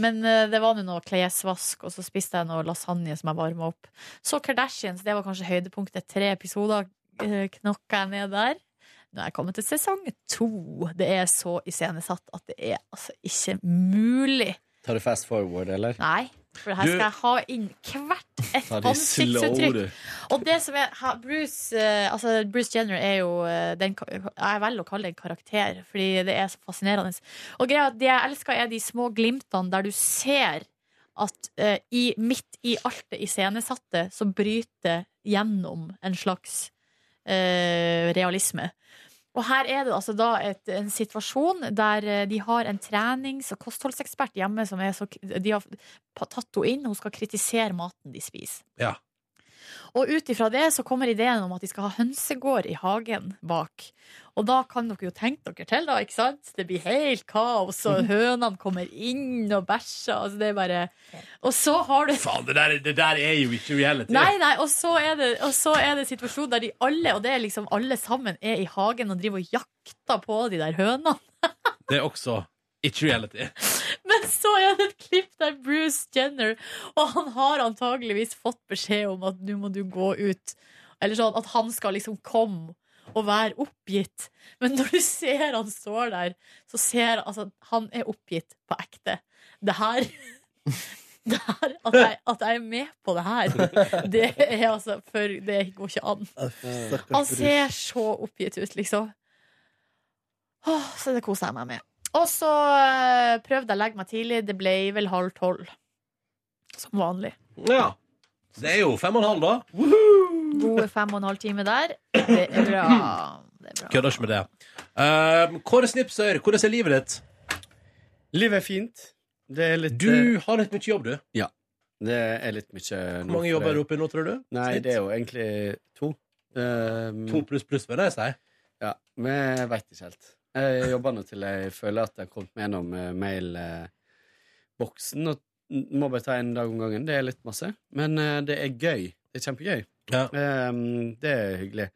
Men eh, det var nå noe klesvask, og så spiste jeg noe lasagne som jeg varma opp. Så Kardashians, det var kanskje høydepunktet. Tre episoder eh, knokka jeg ned der. Nå er jeg kommet til sesong to. Det er så iscenesatt at det er altså ikke mulig. Tar du fast forward, eller? Nei. For her Du- skal jeg ha inn hvert et Ta de slow, ansiktsuttrykk. du. Og det som er ha- Bruce, eh, altså Bruce Jenner er jo eh, den, ka- Jeg velger å kalle det en karakter, fordi det er så fascinerende. Og greia er at Det jeg elsker, er de små glimtene der du ser at eh, i, midt i alt det iscenesatte, så bryter gjennom en slags eh, realisme. Og her er det altså da et, en situasjon der eh, de har en trenings- og kostholdsekspert hjemme som er så, k- de har pa- tatt henne inn, hun skal kritisere maten de spiser. Ja. Og ut ifra det så kommer ideen om at de skal ha hønsegård i hagen bak. Og da kan dere jo tenke dere til, da, ikke sant? Det blir helt kaos, og hønene kommer inn og bæsjer, altså det er bare Og så har du Faen, det der, det der er jo ikke reality. Nei, nei, og så er det, og så er det situasjonen der de alle, og det er liksom alle sammen, er i hagen og driver og jakter på de der hønene. Det er også ikke reality. Men så er det et klipp der Bruce Jenner Og han har antageligvis fått beskjed om at nå må du gå ut Eller sånn at han skal liksom komme og være oppgitt Men når du ser han står der Så ser altså, at han er oppgitt på ekte Det her det her, at, jeg, at jeg er med på det her Det er altså for, Det går ikke an Han ser så oppgitt ut liksom Åh, så det koser jeg meg med. Og så eh, prøvde jeg å legge meg tidlig. Det ble vel halv tolv. Som vanlig. Ja. Det er jo fem og en halv, da. Gode fem og en halv time der. Det er bra. Kødder ikke med det. Um, Kåre Snipsøyr, hvordan er livet ditt? Livet er fint. Det er litt eh, Du har litt mye jobb, du. Ja. Det er litt mye Hvor mange jobber er du oppe i nå, tror du? Nei, Snitt? det er jo egentlig to. Eh, To pluss pluss, vil jeg si. Ja, men jeg veit ikke helt. Jeg jobber nå til jeg føler at jeg har kommet meg gjennom eh, mailboksen. Og n- må bare ta en dag om gangen. Det er litt masse. Men eh, det er gøy. Det er kjempegøy. Ehm, det er hyggelig.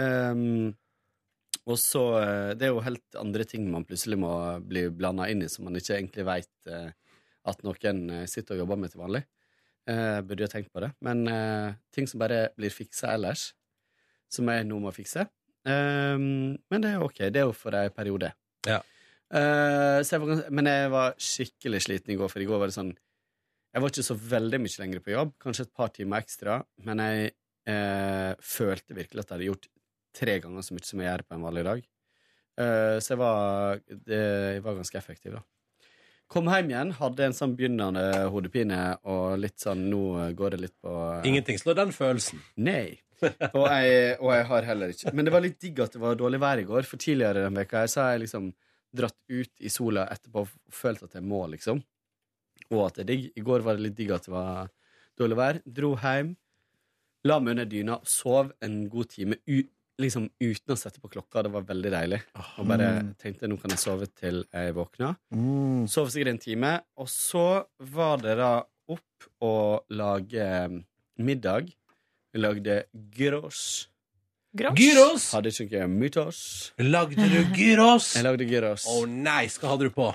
Ehm, og så eh, Det er jo helt andre ting man plutselig må bli blanda inn i, som man ikke egentlig veit at noen eh, sitter og jobber med til vanlig. Eh, burde jo tenkt på det. Men eh, ting som bare blir fiksa ellers, som jeg nå må fikse. Ehm, men det er ok. Det er jo for ei periode. Eh, så jeg var, gans- men jeg var skikkelig sliten i går, for i går var det sånn Jeg var ikke så veldig mye lenger på jobb, kanskje et par timer ekstra, men jeg eh, følte virkelig at jeg hadde gjort tre ganger så mye som jeg gjør på en vanlig dag. Eh, så jeg var, det, jeg var ganske effektiv, da. Kom hjem igjen, hadde en sånn begynnende hodepine og litt sånn Nå går det litt på Ingenting slår den følelsen. Nei. Og jeg, og jeg har heller ikke. Men det var litt digg at det var dårlig vær i går, for tidligere den veka her så har jeg liksom dratt ut i sola etterpå og følt at jeg må, liksom. Og at det er digg. I går var det litt digg at det var dårlig vær. Dro hjem, la meg under dyna og sov en god time u liksom uten å sette på klokka. Det var veldig deilig. Og bare tenkte nå kan jeg sove til jeg våkna. Sov sikkert en time, og så var det da opp og lage eh, middag. Vi lagde gyros. Gyros? Gyros? Hadde ikke noe mytos. Lagde du gyros? Jeg lagde gyros. Å nei, skal hadde du på?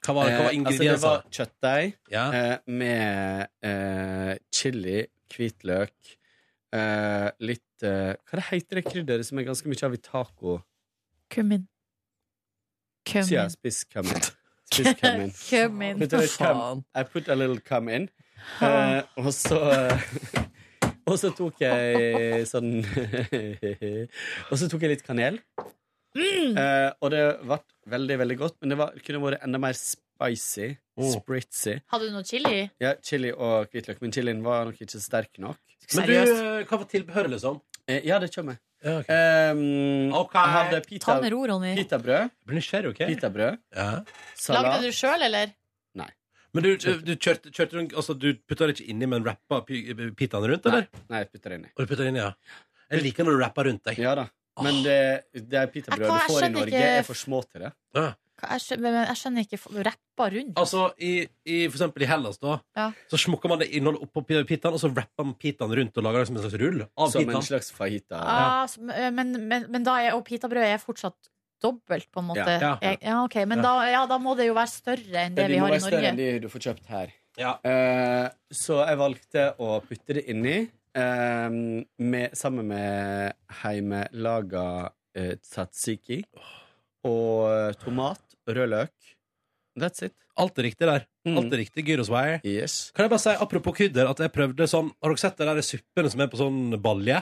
Hva var, hva var Eh, altså, det var ingrediensene? kjøttdeig eh, med eh, chili, hvitløk, eh, litt eh, Hva det heter det krydderet som er ganske mye av i taco? Kummin. Så ja, Kummin. spiss kummin. Spiss kummin. Kummin. Put a little cum- I put a little cum in. Eh, og så eh, Og så tok jeg sånn Og så tok jeg litt kanel. Eh, og det ble veldig, veldig godt, men det var, kunne vært enda mer spicy. Spritzy. Hadde du noe chili? Ja, chili og hvitløk, men chilien var nok ikke sterk nok. Men du, eh, hva var tilbehøret, liksom? Eh, Eh, Ja, det kommer. Ja, Ehm, Jeg hadde pita, Ta med ro, Ronny. pitabrød. Pitabrød. Lagde du Salat. sjøl, eller? Men du, du, du kjørte, kjørte rundt, altså du putta det ikke inni, men rappa pi- pitaen rundt, eller? Nei, jeg putter det inni. Og du putta det inni, ja. Jeg liker når du rapper rundt deg. Ja da. Men det, det er pitabrød Jeg- du får hva, jeg i skjønner Norge, ikke- er for små til det. Hva- Jeg skjønner, men jeg skjønner ikke f- Rappa rundt? Altså, i, i, for eksempel i Hellas, da, Ja. så smukker man det innholdet oppå pi- pitaen, og så rapper man pitaen rundt og lager det som en slags rull av Som pitaen. en slags fajita. Ah, så- men, men, men da er, og pitabrød er fortsatt dobbelt, på en måte. Ja. Ja. Jeg- ja ok, Men da, ja, da må det jo være større enn det de vi må har i være større enn Norge. de du får kjøpt her. Eh, så jeg valgte å putte det inni eh, med, sammen med heimelaga eh, tzatziki og tomat og rød løk. That's it. Alt er riktig der. Mm. Alt er riktig gyroswire. Kan jeg bare si, apropos krydder, at jeg prøvde sånn Har dere sett de der suppene som er på sånn balje?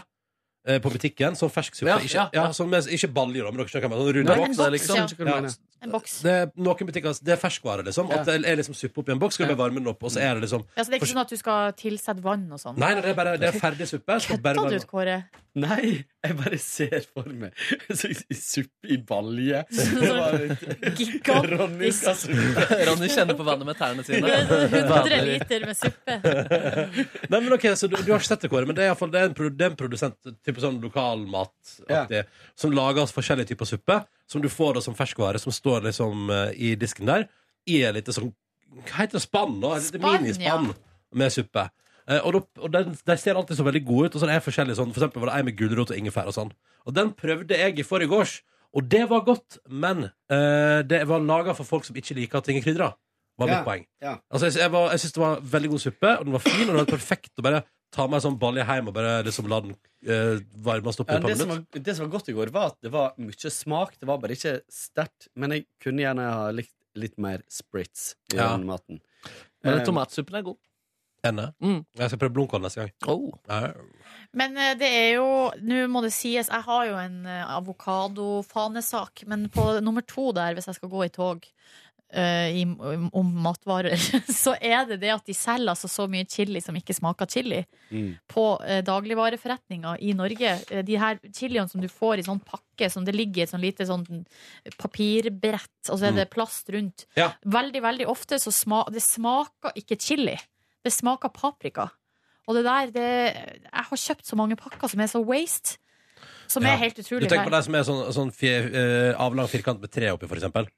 eh, På butikken. Sånn fersk suppe. Ja, ikke, ja, ja. sånn med, ikke balje, da, men dere skjønner hva jeg Nei, mener. en boks, ja. Sånn rund Jeg skjønner ikke hva du mener. En boks. Det er noen butikker Det er ferskvare, liksom. At det er liksom suppe oppi en boks, skal du bare varme den opp, og så Mm. er det liksom Ja, så det er ikke sånn at du skal tilsette vann og sånn? Nei, nei, det er bare det er ferdig suppe. så bare Ta varme det den ut, Kåre. Nei, jeg bare ser for meg så- i suppe i balje. Det var litt- Ronny skal suppe. Ronny kjenner på vannet med tærne sine. 100 liter med suppe. Nei, men ok, så du, du har ikke sett det, Kåre, men det er, i hvert fall- det er, en, produ- det er en produsent type sånn lokalmataktig som lager altså forskjellige typer suppe, som du får da som ferskvare, som står liksom eh, i disken der, i en lite sånn Hva heter det? Spann? da? Et lite Spann, minispann ja. med suppe. Eh, og da- og den, de ser alltid så veldig gode ut. Og så er det forskjellige sånn, For eksempel var det en med gulrot og ingefær og sånn. Og den prøvde jeg i forgårs, og det var godt, men eh, det var laga for folk som ikke liker at ting er krydra. Var mitt Ja, poeng. ja. Altså, jeg, jeg, var, jeg synes det var veldig god suppe, og den var fin, og det var perfekt å bare ta med en sånn balje hjem og bare liksom la den eh, varmes opp i Ja, et par det, som minutter. var, det som var godt i går, var at det var mye smak. Det var bare ikke sterkt. Men jeg kunne gjerne ha likt litt mer spritz i Ja. den maten. Men Eh, tomatsuppen er god. Enne. Jeg skal prøve blomkål neste gang. Oh. Ja. Men eh, det er jo Nå må det sies, jeg har jo en eh, avokadofanesak, men på nummer to der, hvis jeg skal gå i tog eh, i, om, om matvarer, så er det det at de selger altså så mye chili som ikke smaker chili, Mm. på eh, dagligvareforretninger i Norge. Eh, de her chiliene som du får i sånn pakke, som det ligger i et sånn lite sånn papirbrett, og så er det plast rundt. Mm. Ja. Veldig, veldig ofte så sma det smaker ikke chili. Det smaker paprika. Og det der, det, jeg har kjøpt så mange pakker som er så waste. Som Ja. er helt Du utrolig. tenker på de som er sånn, sånn fje- eh, avlang firkant med tre oppi, for eksempel?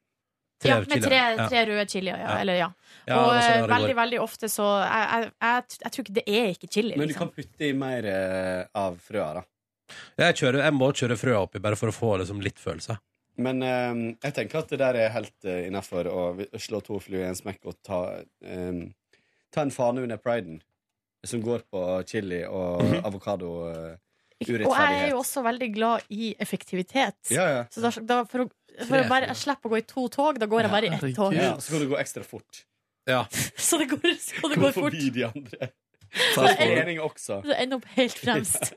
ja, med chilier. tre, Ja. tre røde chilier. Ja, Ja. Eller, ja. Ja, og det var sånn jeg eh, gjorde i veldig, går. veldig ofte så jeg, jeg, jeg, jeg tror ikke det er ikke chili. Men du Liksom. kan putte i mer eh, av frøa, da. Jeg, kjører, jeg må kjøre frøa oppi, bare for å få liksom, litt følelse. Men eh, jeg tenker at det der er helt uh, innafor å vi- slå to fluer i en smekk og ta, eh, ta en fane under priden, som går på chili og avokado eh, Og jeg er urettferdighet. jo også veldig glad i effektivitet. Ja, ja. Så da, da, for å, for å bare, jeg slipper å gå i to tog, da går jeg bare i ett tog. Ja, så kan du gå ekstra fort. Ja. Så det går, så det Gå går fort. forbi de andre. Så jeg får- Ening også. Så ender opp helt fremst.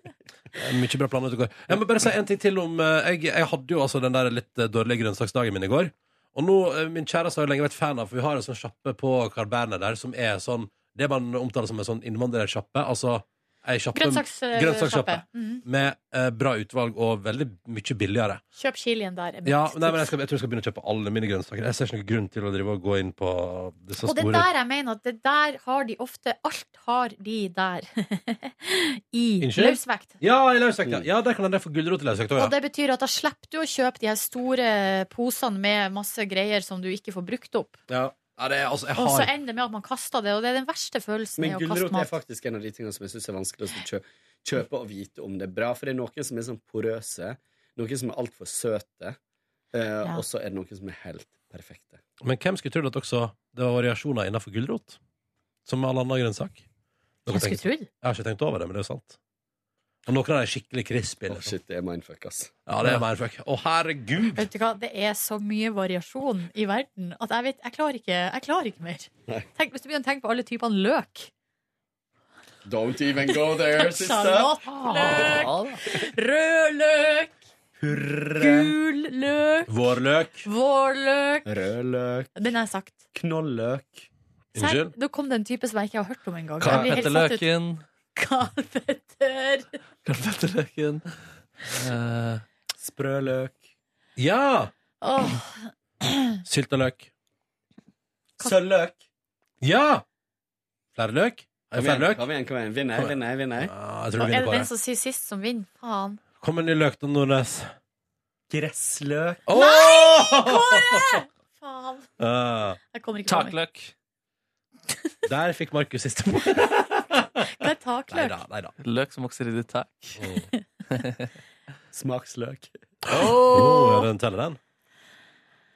Mye bra planer ute og går. Jeg må bare si en ting til om eh, jeg, jeg hadde jo altså den der litt eh, dårlige grønnsaksdagen min i går. Og nå, eh, min kjæreste har jeg lenge vært fan av, for vi har en sånn sjappe på Carl Berner der som er sånn Det man omtaler som en sånn innvandrersjappe. Altså ei sjappe Grønnsaks- grønnsakssjappe sjappe. Mhm. med eh, bra utvalg og veldig mye billigere. Kjøp chilien der. er mitt Ja, nei, men jeg, tips. skal, jeg tror jeg skal begynne å kjøpe alle mine grønnsaker. Jeg ser ikke noen grunn til å drive og gå inn på disse Og det store der jeg mener at det der har de ofte Alt har de der. I Unnskyld? løsvekt. Ja, i løsvekt. Ja, ja der kan en der få gulrot i løsvekt Og òg, ja. det betyr at da slipper du å kjøpe de her store posene med masse greier som du ikke får brukt opp. ja. Ja, det er, altså, jeg Og så har ender det med at man kaster det, og det er den verste følelsen. Men er å kaste gulrot er mat. faktisk en av de tingene som jeg syns er vanskelig å kjø kjøpe og vite om det er bra. For det er noen som er sånn porøse, noen som er altfor søte, eh, Ja. og så er det noen som er helt perfekte. Men hvem skulle trodd at også det var variasjoner innenfor gulrot? Som med all annen grønnsak. Hvem Dere skulle tenker- trodd? Jeg har ikke tenkt over det, men det er jo sant. Og noen av dem er skikkelig crispy. Liksom. shit, det er mindfuck, ass. Ja, det er mindfuck. Å, herregud! Vet du hva, det er så mye variasjon i verden at jeg vet, jeg klarer ikke, jeg klarer ikke mer. Nei. Tenk, hvis du begynner å tenke på alle typene løk. Don't even go there, sister. Sjalottløk, rød løk, gul løk, Vårløk. vårløk. Rødløk. Den har jeg sagt. Knolløk. Serr, nå kom det en type som jeg ikke har hørt om engang. Karl Jeg blir Petter helt satt ut. Løken. Karl Petter. Karl Petter Løken. Eh, Sprø løk. Ja! Åh, Sylteløk. Sølvløk. Ja! Flere løk? Er Kom det flere igjen, løk? kom igjen. kom igjen. Vinner jeg, vinner jeg, vinner jeg. Ja, jeg Og tror du er vinner det på den det. som sier sist, som vinner? Faen. Kom en ny løk, da, Nordnes. Gressløk. Kåre! Faen. Uh, Jeg kommer ikke på meg. takløk. Der fikk Markus siste mål. Hva er takløk? Neida, neida. Løk som vokser i ditt tak. Smaksløk. Oh, den teller den?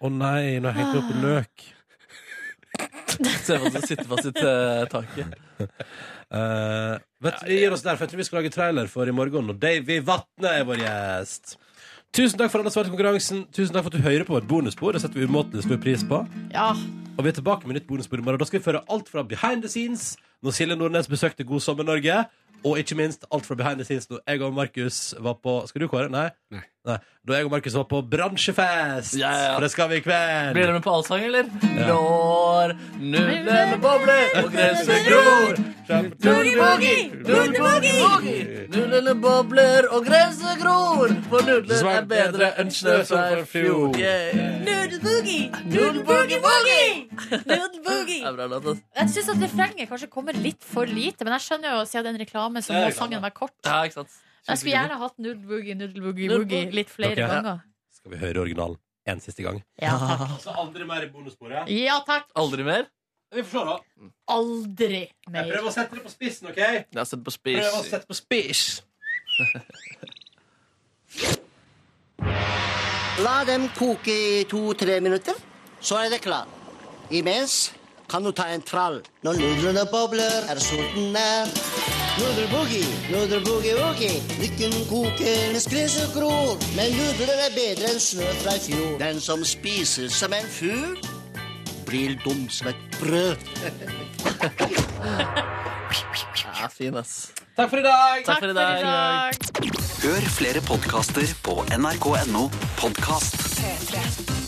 Å nei, nå hengte jeg opp løk. Ser ut som det sitter fast i eh, taket. Eh, vet, vi gir oss der, for jeg tror vi skal lage trailer for i morgen. Og Davy Vatne er vår gjest. Tusen takk for at du har svart i konkurransen. Tusen takk for at du hører på vårt bonusbord. Det setter vi umåtelig stor pris på. Ja. Og vi er tilbake med nytt bonusbord i morgen. Da skal vi føre alt fra behind the scenes, når Silje Nordnes besøkte God sommer Norge, og ikke minst alt fra behind the scenes når jeg og Markus var på Skal du, Kåre? Nei? Nei. Da jeg og Markus var på bransjefest. Ja, ja. For det skal vi i kveld. Blir dere med på allsang, eller? Når nudlene bobler og gresset gror. Boogie, boogie, boogie. Nudlene bobler og gresset gror. For nudler er bedre enn snø fra i fjor. Yeah. Nudelboogie! Nudelboogie-boogie! Nudelboogie! Det er bra låt, ass. Jeg syns at refrenget kanskje kommer litt for lite, men jeg skjønner jo siden det er en reklame, så Ja, må reklame. sangen være kort. Ja, ikke sant? Jeg skulle gjerne hatt nudelboogie, nudelboogie, boogie litt flere Dere? ganger. Skal vi høre originalen en siste gang? Ja, takk. Altså aldri mer i bonussporet? Ja takk! Aldri mer? Vi får se, da. Aldri Jeg mer. prøver å sette det på spissen, OK? Jeg har sett på Prøver å Spish. sette på spiss. La dem koke i to-tre minutter, så er det klart. Imens kan du ta en trall. Når nudlene bobler, er sulten nær. Nudelboogie, nudelboogie-woogie. Lykken koker mens gresset gror. Men nudler er bedre enn snø fra i fjor. Den som spiser som en fugl, blir dum som et brød. Ja, fin, ass. Takk for i dag! Takk for i dag. Hør flere podkaster på nrk.no podkast.